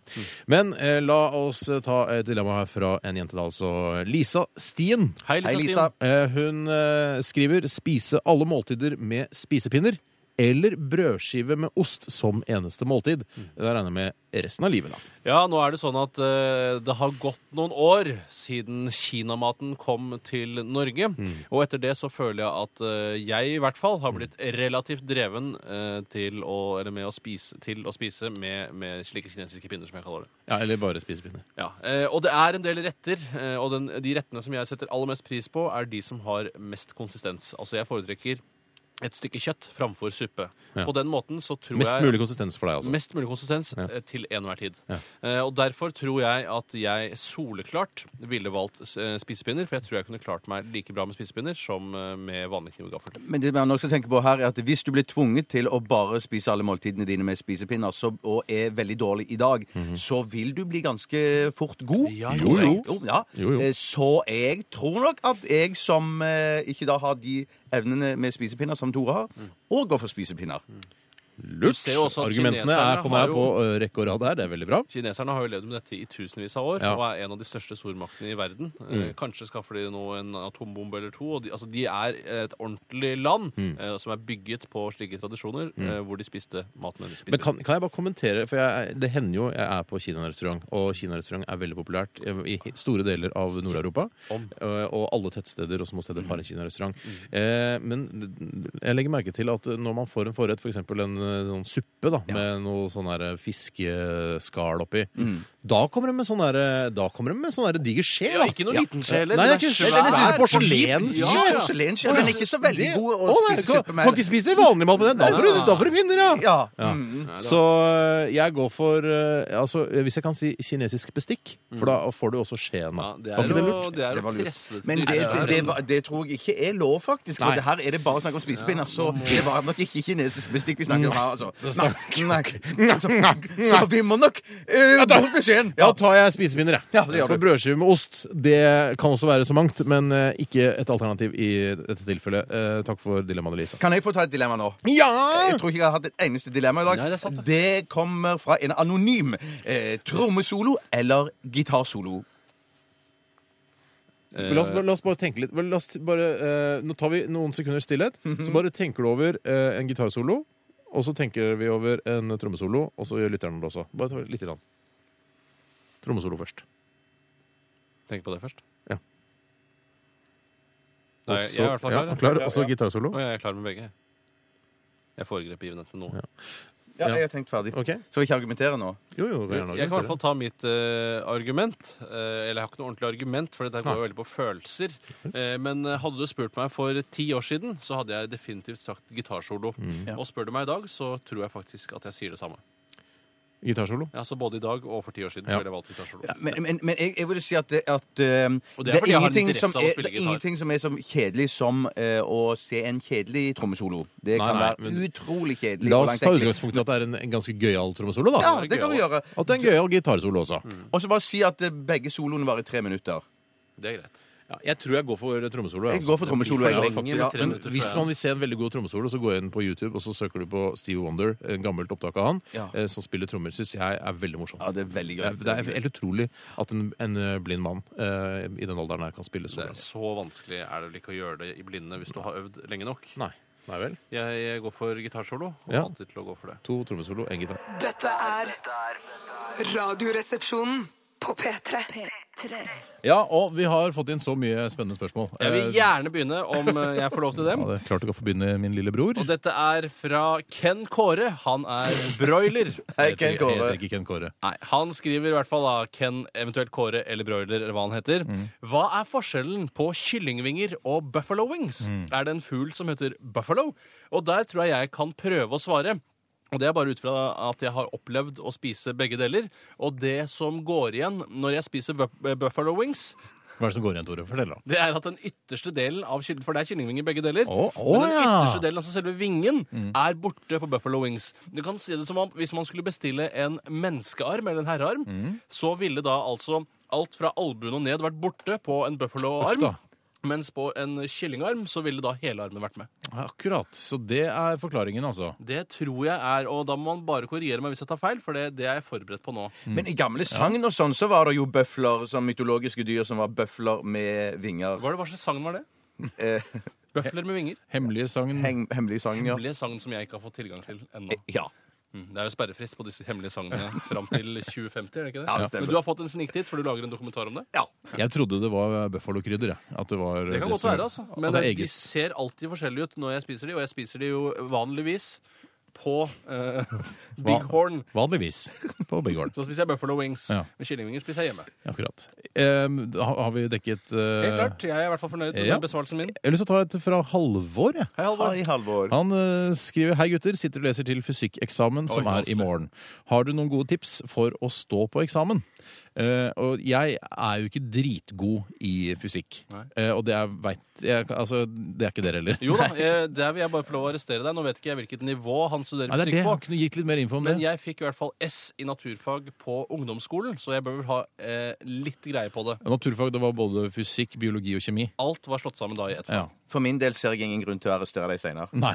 [SPEAKER 3] Men eh, la oss ta et dilemma her fra en jente, da, altså Lisa Stien.
[SPEAKER 4] Hei, Lisa Hei, Lisa.
[SPEAKER 3] Eh, hun eh, skriver 'spise alle måltider med spisepinner'. Eller brødskive med ost som eneste måltid.
[SPEAKER 4] Mm.
[SPEAKER 3] Det regner jeg med resten av livet, da.
[SPEAKER 4] Ja, nå er det sånn at eh, det har gått noen år siden kinamaten kom til Norge.
[SPEAKER 3] Mm.
[SPEAKER 4] Og etter det så føler jeg at eh, jeg i hvert fall har blitt relativt dreven eh, til, å, eller med å spise, til å spise med, med slike kinesiske pinner, som jeg kaller det.
[SPEAKER 3] Ja, Eller bare spisepinner.
[SPEAKER 4] Ja, eh, Og det er en del retter, eh, og den, de rettene som jeg setter aller mest pris på, er de som har mest konsistens. Altså, jeg foretrekker et stykke kjøtt framfor suppe.
[SPEAKER 3] Ja.
[SPEAKER 4] På den måten så tror
[SPEAKER 3] Mest
[SPEAKER 4] jeg
[SPEAKER 3] mulig konsistens for deg, altså.
[SPEAKER 4] Mest mulig konsistens
[SPEAKER 3] Ja.
[SPEAKER 4] eh, til enhver tid.
[SPEAKER 3] Ja.
[SPEAKER 4] Eh, og derfor tror jeg at jeg soleklart ville valgt eh, spisepinner, for jeg tror jeg kunne klart meg like bra med spisepinner som eh, med vanlig kniv og gaffel.
[SPEAKER 5] Men det man også skal tenke på her er at hvis du blir tvunget til å bare spise alle måltidene dine med spisepinner så, og er veldig dårlig i dag,
[SPEAKER 3] Mhm.
[SPEAKER 5] så vil du bli ganske fort god.
[SPEAKER 4] Ja,
[SPEAKER 3] Jo, jo.
[SPEAKER 5] ja.
[SPEAKER 3] Jo, jo.
[SPEAKER 5] Eh, Så jeg tror nok at jeg som eh, ikke da har de evnene med spisepinner som Tore har, og går for spisepinner.
[SPEAKER 3] Lurt.
[SPEAKER 4] ser jo også at
[SPEAKER 3] Argumentene
[SPEAKER 4] kineserne
[SPEAKER 3] er, kommer her
[SPEAKER 4] har
[SPEAKER 3] på ø, rekke og rad her. Det er veldig bra.
[SPEAKER 4] Kineserne har jo levd med dette i tusenvis av år
[SPEAKER 3] Ja.
[SPEAKER 4] og er en av de største stormaktene i verden. Eh, Kanskje skaffer de nå en atombombe eller to. Og de, altså, de er et ordentlig land eh, som er bygget på slike tradisjoner, eh, hvor de spiste maten de spiste.
[SPEAKER 3] Men kan, kan jeg bare kommentere, for jeg, det hender jo jeg er på kinarestaurant, og kinarestaurant er veldig populært i i store deler av Nord-Europa. Ø, Og alle tettsteder og
[SPEAKER 4] Mm.
[SPEAKER 3] småsteder har en kinarestaurant. Eh, Men jeg legger merke til at når man får en forrett, f.eks. For eksempel en ø, eh, sånn suppe da, med noe sånn der fiskeskall oppi. Da kommer de med sånn der, da kommer de med sånn der diger skje.
[SPEAKER 4] Mm. Ja,
[SPEAKER 3] da.
[SPEAKER 4] ikke noe
[SPEAKER 3] Ja.
[SPEAKER 4] liten skje heller.
[SPEAKER 3] Nei, det er
[SPEAKER 4] Den
[SPEAKER 3] ikke
[SPEAKER 4] er
[SPEAKER 3] skje. Den
[SPEAKER 4] svær.
[SPEAKER 3] er porselens.
[SPEAKER 4] Ja,
[SPEAKER 5] Ja,
[SPEAKER 4] ja.
[SPEAKER 5] Porselenskjell. Den er ikke så veldig
[SPEAKER 3] Det-
[SPEAKER 5] god å
[SPEAKER 3] Å, nei,
[SPEAKER 5] spise suppe
[SPEAKER 3] kan- Kan
[SPEAKER 5] med.
[SPEAKER 3] ikke spise vanlig mat med den. Da får du, da får du pinner, ja!
[SPEAKER 5] Ja.
[SPEAKER 3] Ja.
[SPEAKER 5] Mm.
[SPEAKER 3] Så eh, jeg går for eh, altså, Hvis jeg kan si kinesisk bestikk, for da får du også skjeen. da.
[SPEAKER 4] Ja, det
[SPEAKER 3] Var
[SPEAKER 4] er
[SPEAKER 3] ikke det
[SPEAKER 4] jo
[SPEAKER 3] lurt?
[SPEAKER 4] det er
[SPEAKER 5] Det
[SPEAKER 4] jo
[SPEAKER 5] var lurt.
[SPEAKER 4] presset.
[SPEAKER 5] Men det, det, det, var- det tror jeg ikke er lov, faktisk. For
[SPEAKER 3] Nei.
[SPEAKER 5] det her er det bare snakk om spisepinner. Så det var nok ikke kinesisk bestikk vi snakker om her, altså. Nei. Nei. Så, så vi må nok uh, bruke beskjeden.
[SPEAKER 3] Da tar jeg spisepinner, jeg.
[SPEAKER 5] Ja, det gjør du.
[SPEAKER 3] for brødskive med ost det kan også være så mangt, men eh, ikke et alternativ i dette tilfellet. Eh, takk for dilemmaet, Eh, Elise.
[SPEAKER 5] Kan jeg få ta et dilemma nå?
[SPEAKER 3] Ja!
[SPEAKER 5] Jeg tror ikke jeg har hatt et eneste dilemma i dag.
[SPEAKER 4] Nei, det er sant, det.
[SPEAKER 5] det kommer fra en anonym. Eh, Trommesolo eller gitarsolo?
[SPEAKER 4] Eh,
[SPEAKER 3] La oss, la oss bare tenke litt. La oss bare, eh, nå tar vi noen sekunder stillhet. Så bare tenker du over eh, en gitarsolo, og så tenker vi over en trommesolo, og så gjør lytteren det også. Bare ta litt. grann. Trommesolo først.
[SPEAKER 4] Tenk på det først.
[SPEAKER 3] Ja.
[SPEAKER 4] Nei, jeg er i hvert fall
[SPEAKER 3] ja,
[SPEAKER 4] klar.
[SPEAKER 3] han klarer også gitarsolo.
[SPEAKER 4] Og jeg er klar med begge. Jeg foregrep givenheten nå.
[SPEAKER 5] Ja,
[SPEAKER 3] Ja.
[SPEAKER 5] jeg har tenkt ferdig.
[SPEAKER 3] Ok.
[SPEAKER 5] Skal vi ikke argumentere nå?
[SPEAKER 3] Jo, jo, vi er nok
[SPEAKER 4] Jeg kan i
[SPEAKER 3] til
[SPEAKER 4] hvert fall ta mitt eh, argument. Eh, eller jeg har ikke noe ordentlig argument, for dette går jo veldig på følelser. Eh, men eh, hadde du spurt meg for ti år siden, så hadde jeg definitivt sagt gitarsolo.
[SPEAKER 3] Mm.
[SPEAKER 5] Ja.
[SPEAKER 4] Og spør du meg i dag, så tror jeg faktisk at jeg sier det samme.
[SPEAKER 3] det. Gitarsolo.
[SPEAKER 4] Ja, så både i dag og for ti år siden
[SPEAKER 3] Ja.
[SPEAKER 4] så ville jeg valgt gitarsolo.
[SPEAKER 5] Ja, men men, men jeg, jeg vil si at, det- at eh, det
[SPEAKER 4] Og det
[SPEAKER 5] er
[SPEAKER 4] er fordi jeg har en
[SPEAKER 5] ingenting
[SPEAKER 4] interesse
[SPEAKER 5] som
[SPEAKER 4] av å
[SPEAKER 5] er-
[SPEAKER 4] spille
[SPEAKER 5] det er
[SPEAKER 4] gitar.
[SPEAKER 5] ingenting som er så kjedelig som eh, å se en kjedelig trommesolo. Det
[SPEAKER 3] Nei,
[SPEAKER 5] kan
[SPEAKER 3] nei,
[SPEAKER 5] være
[SPEAKER 3] men-
[SPEAKER 5] utrolig kjedelig.
[SPEAKER 3] La
[SPEAKER 5] og
[SPEAKER 3] oss
[SPEAKER 5] langt
[SPEAKER 3] ta
[SPEAKER 5] ekkelt.
[SPEAKER 3] utgangspunkt i at det er en, en ganske gøyal trommesolo, da.
[SPEAKER 5] Ja, det kan vi gjøre.
[SPEAKER 3] At det er en gøyal gitarsolo
[SPEAKER 4] Mm.
[SPEAKER 3] også.
[SPEAKER 5] Og så bare si at eh, begge soloene varer i tre minutter.
[SPEAKER 4] Det er greit.
[SPEAKER 3] Ja, jeg tror jeg altså. går for trommesolo.
[SPEAKER 5] Jeg går for trommesolo.
[SPEAKER 4] for
[SPEAKER 5] jeg,
[SPEAKER 4] lenge,
[SPEAKER 5] faktisk.
[SPEAKER 4] hvis
[SPEAKER 5] Ja,
[SPEAKER 4] tre
[SPEAKER 5] men-
[SPEAKER 4] minutter.
[SPEAKER 3] Hvis man vil se en veldig god trommesolo, så gå inn på YouTube og så søker du på Steve Wonder, en gammelt opptak av han,
[SPEAKER 5] Ja.
[SPEAKER 3] eh, som spiller trommer. Syns jeg er veldig morsomt. Eh,
[SPEAKER 5] Ja, det er veldig
[SPEAKER 3] Det er,
[SPEAKER 5] gøy.
[SPEAKER 3] det er helt utrolig at en, en eh, blind mann eh, i den alderen her kan spille
[SPEAKER 4] Det
[SPEAKER 3] solo. altså.
[SPEAKER 4] er så vanskelig er det vel ikke å gjøre det i blinde hvis du har øvd lenge nok.
[SPEAKER 3] Nei. Nei vel.
[SPEAKER 4] Jeg, jeg går for gitarsolo. Kommer
[SPEAKER 3] Ja.
[SPEAKER 4] alltid til å gå for det.
[SPEAKER 3] To trommesolo, én gitar.
[SPEAKER 6] Dette er Radioresepsjonen på P3.
[SPEAKER 3] Ja, og vi har fått inn så mye spennende spørsmål.
[SPEAKER 4] Jeg vil
[SPEAKER 3] Eh,
[SPEAKER 4] gjerne begynne, om eh, jeg får lov til dem.
[SPEAKER 3] ja, det er klart du kan få begynne, min lille bror.
[SPEAKER 4] Og dette er fra Ken Kåre. Han er broiler.
[SPEAKER 5] Hei, Ken
[SPEAKER 3] Jeg
[SPEAKER 5] Kåre.
[SPEAKER 3] heter ikke Ken Kåre.
[SPEAKER 4] Nei, Han skriver i hvert fall da Ken, eventuelt Kåre eller broiler, eller hva han heter.
[SPEAKER 3] Mm.
[SPEAKER 4] Hva er forskjellen på kyllingvinger og buffalo wings?
[SPEAKER 3] Mm.
[SPEAKER 4] Er det en fugl som heter buffalo? Og der tror jeg jeg kan prøve å svare. Og Det er bare ut fra at jeg har opplevd å spise begge deler. Og det som går igjen når jeg spiser bu- buffalo wings,
[SPEAKER 3] Hva er det som går igjen, Tore? Fortell, da.
[SPEAKER 4] det er at den ytterste delen av kylling... For det er kyllingvinger begge deler.
[SPEAKER 3] Å, å,
[SPEAKER 4] men den
[SPEAKER 3] ja. Mm.
[SPEAKER 4] ytterste delen, altså selve vingen, er borte på Buffalo Wings. Du kan si det som om hvis man skulle bestille en menneskearm eller en herrearm,
[SPEAKER 3] Mm.
[SPEAKER 4] så ville da altså alt fra albuen og ned vært borte på
[SPEAKER 3] Uff
[SPEAKER 4] en
[SPEAKER 3] da.
[SPEAKER 4] Buffalo-arm. Mens på en kyllingarm så ville da hele armen vært med.
[SPEAKER 3] Ja, Akkurat. Så det er forklaringen, altså.
[SPEAKER 4] Det tror jeg er Og da må man bare korrigere meg hvis jeg tar feil, for det, det er jeg forberedt på nå.
[SPEAKER 5] Mm. Men i gamle sagn og sånn så var det jo bøfler som mytologiske dyr som var bøfler med vinger.
[SPEAKER 4] Hva, er det, hva slags sagn var det?
[SPEAKER 5] Eh,
[SPEAKER 4] Bøfler med vinger?
[SPEAKER 3] Hemmelige sagn.
[SPEAKER 5] heng, hemmelige sagn, ja.
[SPEAKER 4] Hemmelige sagn som jeg ikke har fått tilgang til ennå.
[SPEAKER 5] ja.
[SPEAKER 4] Mm, Det er jo sperrefrist på disse hemmelige sangene fram til 2050. er det ikke det?
[SPEAKER 5] Ja, det stemmer.
[SPEAKER 4] Men du har fått en sniktitt, for du lager en dokumentar om det?
[SPEAKER 3] Jeg trodde det var buffalokrydder. jeg. At det var
[SPEAKER 4] Det kan godt
[SPEAKER 3] som-
[SPEAKER 4] være, altså. Men
[SPEAKER 3] at det er
[SPEAKER 4] de
[SPEAKER 3] eget.
[SPEAKER 4] ser alltid forskjellige ut når jeg spiser de, og jeg spiser de jo vanligvis på eh, Big
[SPEAKER 3] Hva-
[SPEAKER 4] Horn.
[SPEAKER 3] Vanligvis på Bighorn.
[SPEAKER 4] Så spiser jeg Buffalo Wings.
[SPEAKER 3] Ja.
[SPEAKER 4] Med kyllingvinger spiser jeg hjemme.
[SPEAKER 3] Akkurat. Em, da har vi dekket eh,
[SPEAKER 4] Helt klart, Jeg er i hvert fall fornøyd med
[SPEAKER 3] ja.
[SPEAKER 4] besvarelsen min.
[SPEAKER 3] Jeg har lyst til å ta et fra Halvor. jeg.
[SPEAKER 4] Hei, Halvor.
[SPEAKER 5] Hei, Halvor.
[SPEAKER 3] Han eh, skriver Hei gutter, sitter og leser til fysikkeksamen som
[SPEAKER 4] Oi,
[SPEAKER 3] er i morgen. Har du noen gode tips for å stå på eksamen? Eh, og jeg er jo ikke dritgod i fysikk.
[SPEAKER 4] Nei.
[SPEAKER 3] Eh, og det er, vet, jeg, altså, det er ikke dere heller.
[SPEAKER 4] Jo da, eh, der vil jeg bare få lov å arrestere deg. Nå vet ikke jeg hvilket nivå han studerer
[SPEAKER 3] Nei, det er det.
[SPEAKER 4] fysikk på.
[SPEAKER 3] Han kunne gitt litt mer info om det.
[SPEAKER 4] Men jeg fikk i hvert fall S i naturfag på ungdomsskolen, så jeg bør vel ha eh, litt greie på det.
[SPEAKER 3] Naturfag det var både fysikk, biologi og kjemi.
[SPEAKER 4] Alt var slått sammen da i ett fag.
[SPEAKER 3] Ja.
[SPEAKER 5] For min del ser jeg ingen grunn til å arrestere deg seinere.
[SPEAKER 3] Nei.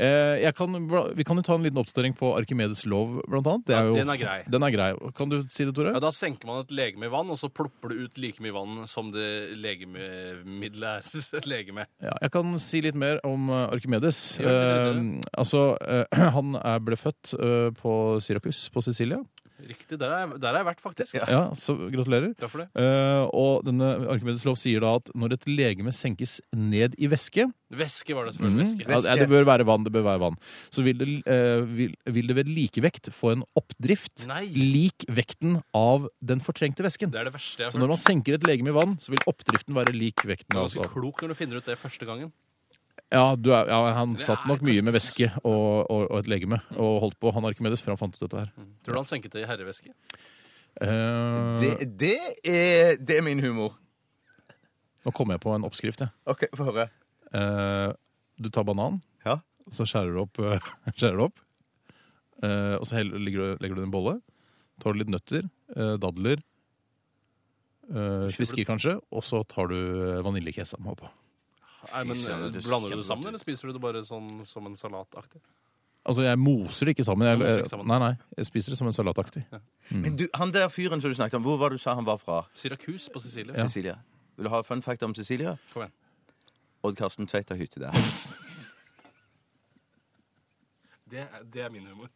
[SPEAKER 3] Eh, jeg kan, bla- vi kan jo ta en liten oppdatering på Arkimedes lov, blant annet. Det
[SPEAKER 4] Ja,
[SPEAKER 3] er jo,
[SPEAKER 4] den er grei.
[SPEAKER 3] Den er grei. Kan du si det, Tore?
[SPEAKER 4] Ja, da senker man et legeme i vann, og så plopper det ut like mye vann som det legemiddelet er legeme.
[SPEAKER 3] Ja, jeg kan si litt mer om eh, Arkimedes.
[SPEAKER 4] Gjør det, gjør det,
[SPEAKER 3] Eh, altså, eh, han er, ble født eh, på Syrakus på Sicilia.
[SPEAKER 4] Riktig. Der har jeg, der har jeg vært, faktisk.
[SPEAKER 3] Ja, så gratulerer.
[SPEAKER 4] Takk for det.
[SPEAKER 3] Eh, og denne Arkimedes lov sier da at når et legeme senkes ned i væske
[SPEAKER 4] Væske var det selvfølgelig.
[SPEAKER 3] Mm. Ja,
[SPEAKER 4] Væske.
[SPEAKER 3] det bør være vann, det bør være vann. Så vil det, eh, vil, vil det ved likevekt få en oppdrift
[SPEAKER 4] Nei.
[SPEAKER 3] lik vekten av den fortrengte væsken.
[SPEAKER 4] Det er det verste jeg
[SPEAKER 3] Så
[SPEAKER 4] har
[SPEAKER 3] når
[SPEAKER 4] hørt.
[SPEAKER 3] man senker et legeme i vann, så vil oppdriften være lik
[SPEAKER 4] Du
[SPEAKER 3] vekten.
[SPEAKER 4] er
[SPEAKER 3] av-
[SPEAKER 10] altså-
[SPEAKER 4] ganske klok når du finner ut det første gangen.
[SPEAKER 3] Ja, du er, ja, han satt
[SPEAKER 4] er
[SPEAKER 3] nok mye med væske
[SPEAKER 4] kanskje-
[SPEAKER 3] og, og, og et legeme og holdt på. Han Arkimedes, for han fant ut dette her.
[SPEAKER 4] Tror du han senket det i herrevæske?
[SPEAKER 3] Eh,
[SPEAKER 5] Det, det, er, det er min humor.
[SPEAKER 3] Nå kom jeg på en oppskrift, jeg.
[SPEAKER 5] OK, få høre.
[SPEAKER 3] Eh, du tar banan,
[SPEAKER 5] Ja.
[SPEAKER 3] så skjærer du opp, skjærer du opp eh, og så heller, legger, du, legger du det i en bolle. Tar du litt nøtter, eh, dadler, eh, fisker kanskje, og så tar du eh, vaniljekesam oppå.
[SPEAKER 4] Nei, men eh,
[SPEAKER 5] søren, det
[SPEAKER 4] Blander du
[SPEAKER 5] ser
[SPEAKER 4] det
[SPEAKER 5] kjempegodt
[SPEAKER 4] sammen, eller spiser du det bare sånn som en salataktig?
[SPEAKER 3] Altså, jeg moser det ikke sammen. Jeg,
[SPEAKER 4] Du moser det ikke sammen.
[SPEAKER 3] Nei, nei, jeg spiser det som en salataktig.
[SPEAKER 5] Men du, han der fyren som du snakket om, hvor var det du sa han var fra?
[SPEAKER 4] Syrakus på Sicilie.
[SPEAKER 5] Cecilia. Vil du ha fun fact om Cecilia?
[SPEAKER 4] Kom igjen.
[SPEAKER 5] Odd Karsten Tveit har hytte der.
[SPEAKER 4] Det, er- det er min humor.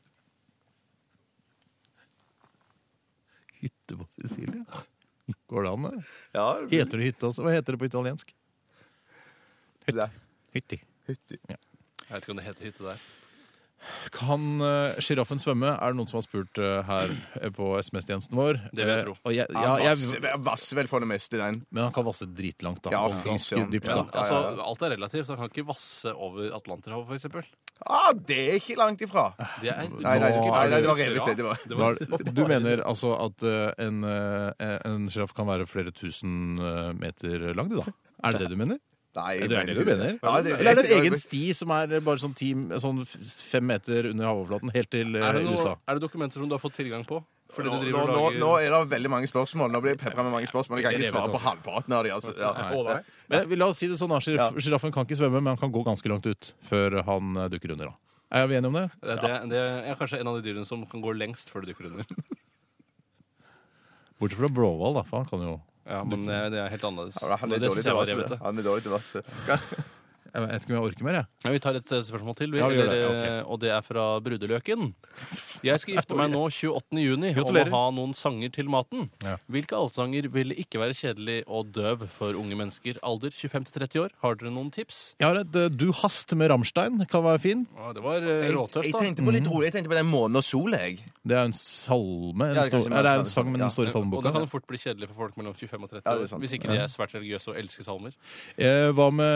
[SPEAKER 3] Hytte på Sicilia? Går det an, det?
[SPEAKER 5] Ja,
[SPEAKER 3] Heter det hytte også? Hva heter det på italiensk?
[SPEAKER 5] hytte.
[SPEAKER 3] Hytti.
[SPEAKER 4] Jeg vet ikke om det heter hytte der.
[SPEAKER 3] Kan eh, sjiraffen svømme? Er det noen som har spurt eh, her eh, på SMS-tjenesten vår?
[SPEAKER 4] Det vil jeg
[SPEAKER 3] Eh,
[SPEAKER 4] tro.
[SPEAKER 3] og jeg, ja,
[SPEAKER 10] Han vasser-
[SPEAKER 3] jeg,
[SPEAKER 10] vasser vel for det meste, den.
[SPEAKER 3] men han kan vasse dritlangt, da.
[SPEAKER 10] Ja,
[SPEAKER 3] og
[SPEAKER 10] fy
[SPEAKER 3] ganske
[SPEAKER 10] søren.
[SPEAKER 3] dypt,
[SPEAKER 10] Ja.
[SPEAKER 3] da.
[SPEAKER 4] Altså, Alt er relativt. så Han kan ikke vasse over Atlanterhavet, for eksempel.
[SPEAKER 10] Ah, det er ikke langt ifra.
[SPEAKER 4] Det er
[SPEAKER 10] Nei, nei,
[SPEAKER 4] Nå-
[SPEAKER 10] nei, nei, det var revet, det, det var-
[SPEAKER 4] Det
[SPEAKER 3] Da er det- Du mener altså at eh, en, eh, en sjiraff kan være flere tusen eh, meter lang, du, da? Er det det du mener?
[SPEAKER 10] Nei,
[SPEAKER 3] Ja, det er det du mener.
[SPEAKER 10] Ja, det,
[SPEAKER 3] Eller er det en egen sti som er bare sånn, ti, sånn fem meter under havoverflaten, helt til eh,
[SPEAKER 4] er, det noe,
[SPEAKER 3] USA?
[SPEAKER 4] er det dokumenter som du har fått tilgang på? Fordi
[SPEAKER 10] nå, nå,
[SPEAKER 4] du driver
[SPEAKER 10] nå,
[SPEAKER 4] og
[SPEAKER 10] nå
[SPEAKER 4] lager
[SPEAKER 10] er det veldig mange spørsmål. Nå blir jeg pepra med mange spørsmål. Jeg kan ikke
[SPEAKER 3] Det er det,
[SPEAKER 10] svare på
[SPEAKER 3] altså.
[SPEAKER 10] halvparten av dem. Altså. Ja.
[SPEAKER 4] Å, nei.
[SPEAKER 3] Men vi La oss si det sånn, Sjiraffen kan ikke svømme, men han kan gå ganske langt ut før han eh, dukker under. da. Er vi enige om det?
[SPEAKER 4] Det, det, det er kanskje en av de dyrene som kan gå lengst før det dukker under.
[SPEAKER 3] Bortsett fra Bråhval, da, for han kan jo
[SPEAKER 4] Ja, men eh, det er helt annerledes.
[SPEAKER 10] Ja, Han
[SPEAKER 4] Men
[SPEAKER 10] er
[SPEAKER 4] det
[SPEAKER 10] dårlig til
[SPEAKER 4] synes jeg
[SPEAKER 10] å
[SPEAKER 4] var
[SPEAKER 10] vasse.
[SPEAKER 5] altså.
[SPEAKER 4] revete.
[SPEAKER 10] Han er dårlig til å vasse.
[SPEAKER 3] Jeg vet ikke om jeg orker mer, jeg.
[SPEAKER 4] Ja, vi tar et eh, spørsmål til, vi,
[SPEAKER 3] Ja, vi gjør det.
[SPEAKER 4] eller, eh, og det er fra Brudeløken. Jeg skal gifte meg nå 28. juni og må
[SPEAKER 3] Gratulerer.
[SPEAKER 4] ha noen sanger til maten.
[SPEAKER 3] Ja.
[SPEAKER 4] Hvilke allsanger vil ikke være kjedelig og døv for unge mennesker? Alder 25-30 år. Har dere noen tips?
[SPEAKER 3] Jeg har et eh, Du hast med Rammstein. Kan være fin.
[SPEAKER 4] Ja, det var eh,
[SPEAKER 5] Jeg, jeg
[SPEAKER 4] råtøft, da.
[SPEAKER 5] tenkte på
[SPEAKER 1] Mm.
[SPEAKER 5] litt rolig. Jeg tenkte på den månen og sola, jeg.
[SPEAKER 3] Det er en salme. En
[SPEAKER 5] Ja, det er
[SPEAKER 3] stor,
[SPEAKER 5] kanskje
[SPEAKER 3] nei, det
[SPEAKER 5] mer
[SPEAKER 3] er en
[SPEAKER 5] salme,
[SPEAKER 3] sang, men
[SPEAKER 5] ja.
[SPEAKER 3] den står i
[SPEAKER 4] Og det
[SPEAKER 3] salmeboka.
[SPEAKER 4] kan fort bli kjedelig for folk mellom 25 og
[SPEAKER 5] Ja,
[SPEAKER 4] 30
[SPEAKER 5] det er
[SPEAKER 4] år.
[SPEAKER 5] sant.
[SPEAKER 4] hvis ikke de er svært religiøse og elsker salmer.
[SPEAKER 3] Eh, Hva med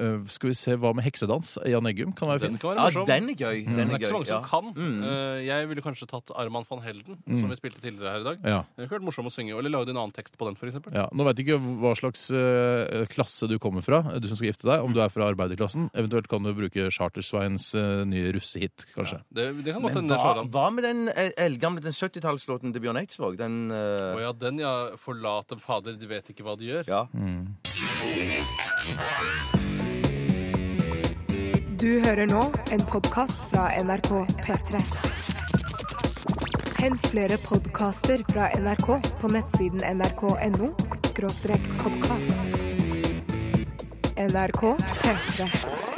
[SPEAKER 3] eh, Skal vi se, hva med Heksedans? Jan Eggum kan være fin.
[SPEAKER 4] Den kan være
[SPEAKER 5] Ja,
[SPEAKER 4] morsom. Mm.
[SPEAKER 5] den er gøy. Den
[SPEAKER 4] Det
[SPEAKER 5] er
[SPEAKER 4] er ikke så
[SPEAKER 5] gøy.
[SPEAKER 4] mange
[SPEAKER 5] Ja. Mm.
[SPEAKER 4] som kan. Eh, Jeg ville kanskje tatt Arman van Helden, som vi spilte tidligere her i dag.
[SPEAKER 3] Ja.
[SPEAKER 4] Det kunne vært morsom å synge, Eller lagd en annen tekst på den, for eksempel.
[SPEAKER 3] Ja, nå veit jeg ikke hva slags eh, klasse du kommer fra, du som skal gifte deg. Om du er fra arbeiderklassen. Eventuelt kan du bruke Chartersveins eh, nye russehit, kanskje.
[SPEAKER 4] Det, det kan godt
[SPEAKER 5] Men
[SPEAKER 4] hende det slår
[SPEAKER 5] hva,
[SPEAKER 4] an.
[SPEAKER 5] hva med den eh, eldgamle den 70-tallslåten til Bjørn Eidsvåg? Den eh,
[SPEAKER 4] Å ja, den ja. Forlat dem, fader, de vet ikke hva de gjør.
[SPEAKER 5] Ja.
[SPEAKER 1] Du hører nå en podkast fra NRK P3. Hent flere podkaster fra NRK på nettsiden nrk.no podkast. NRK P3.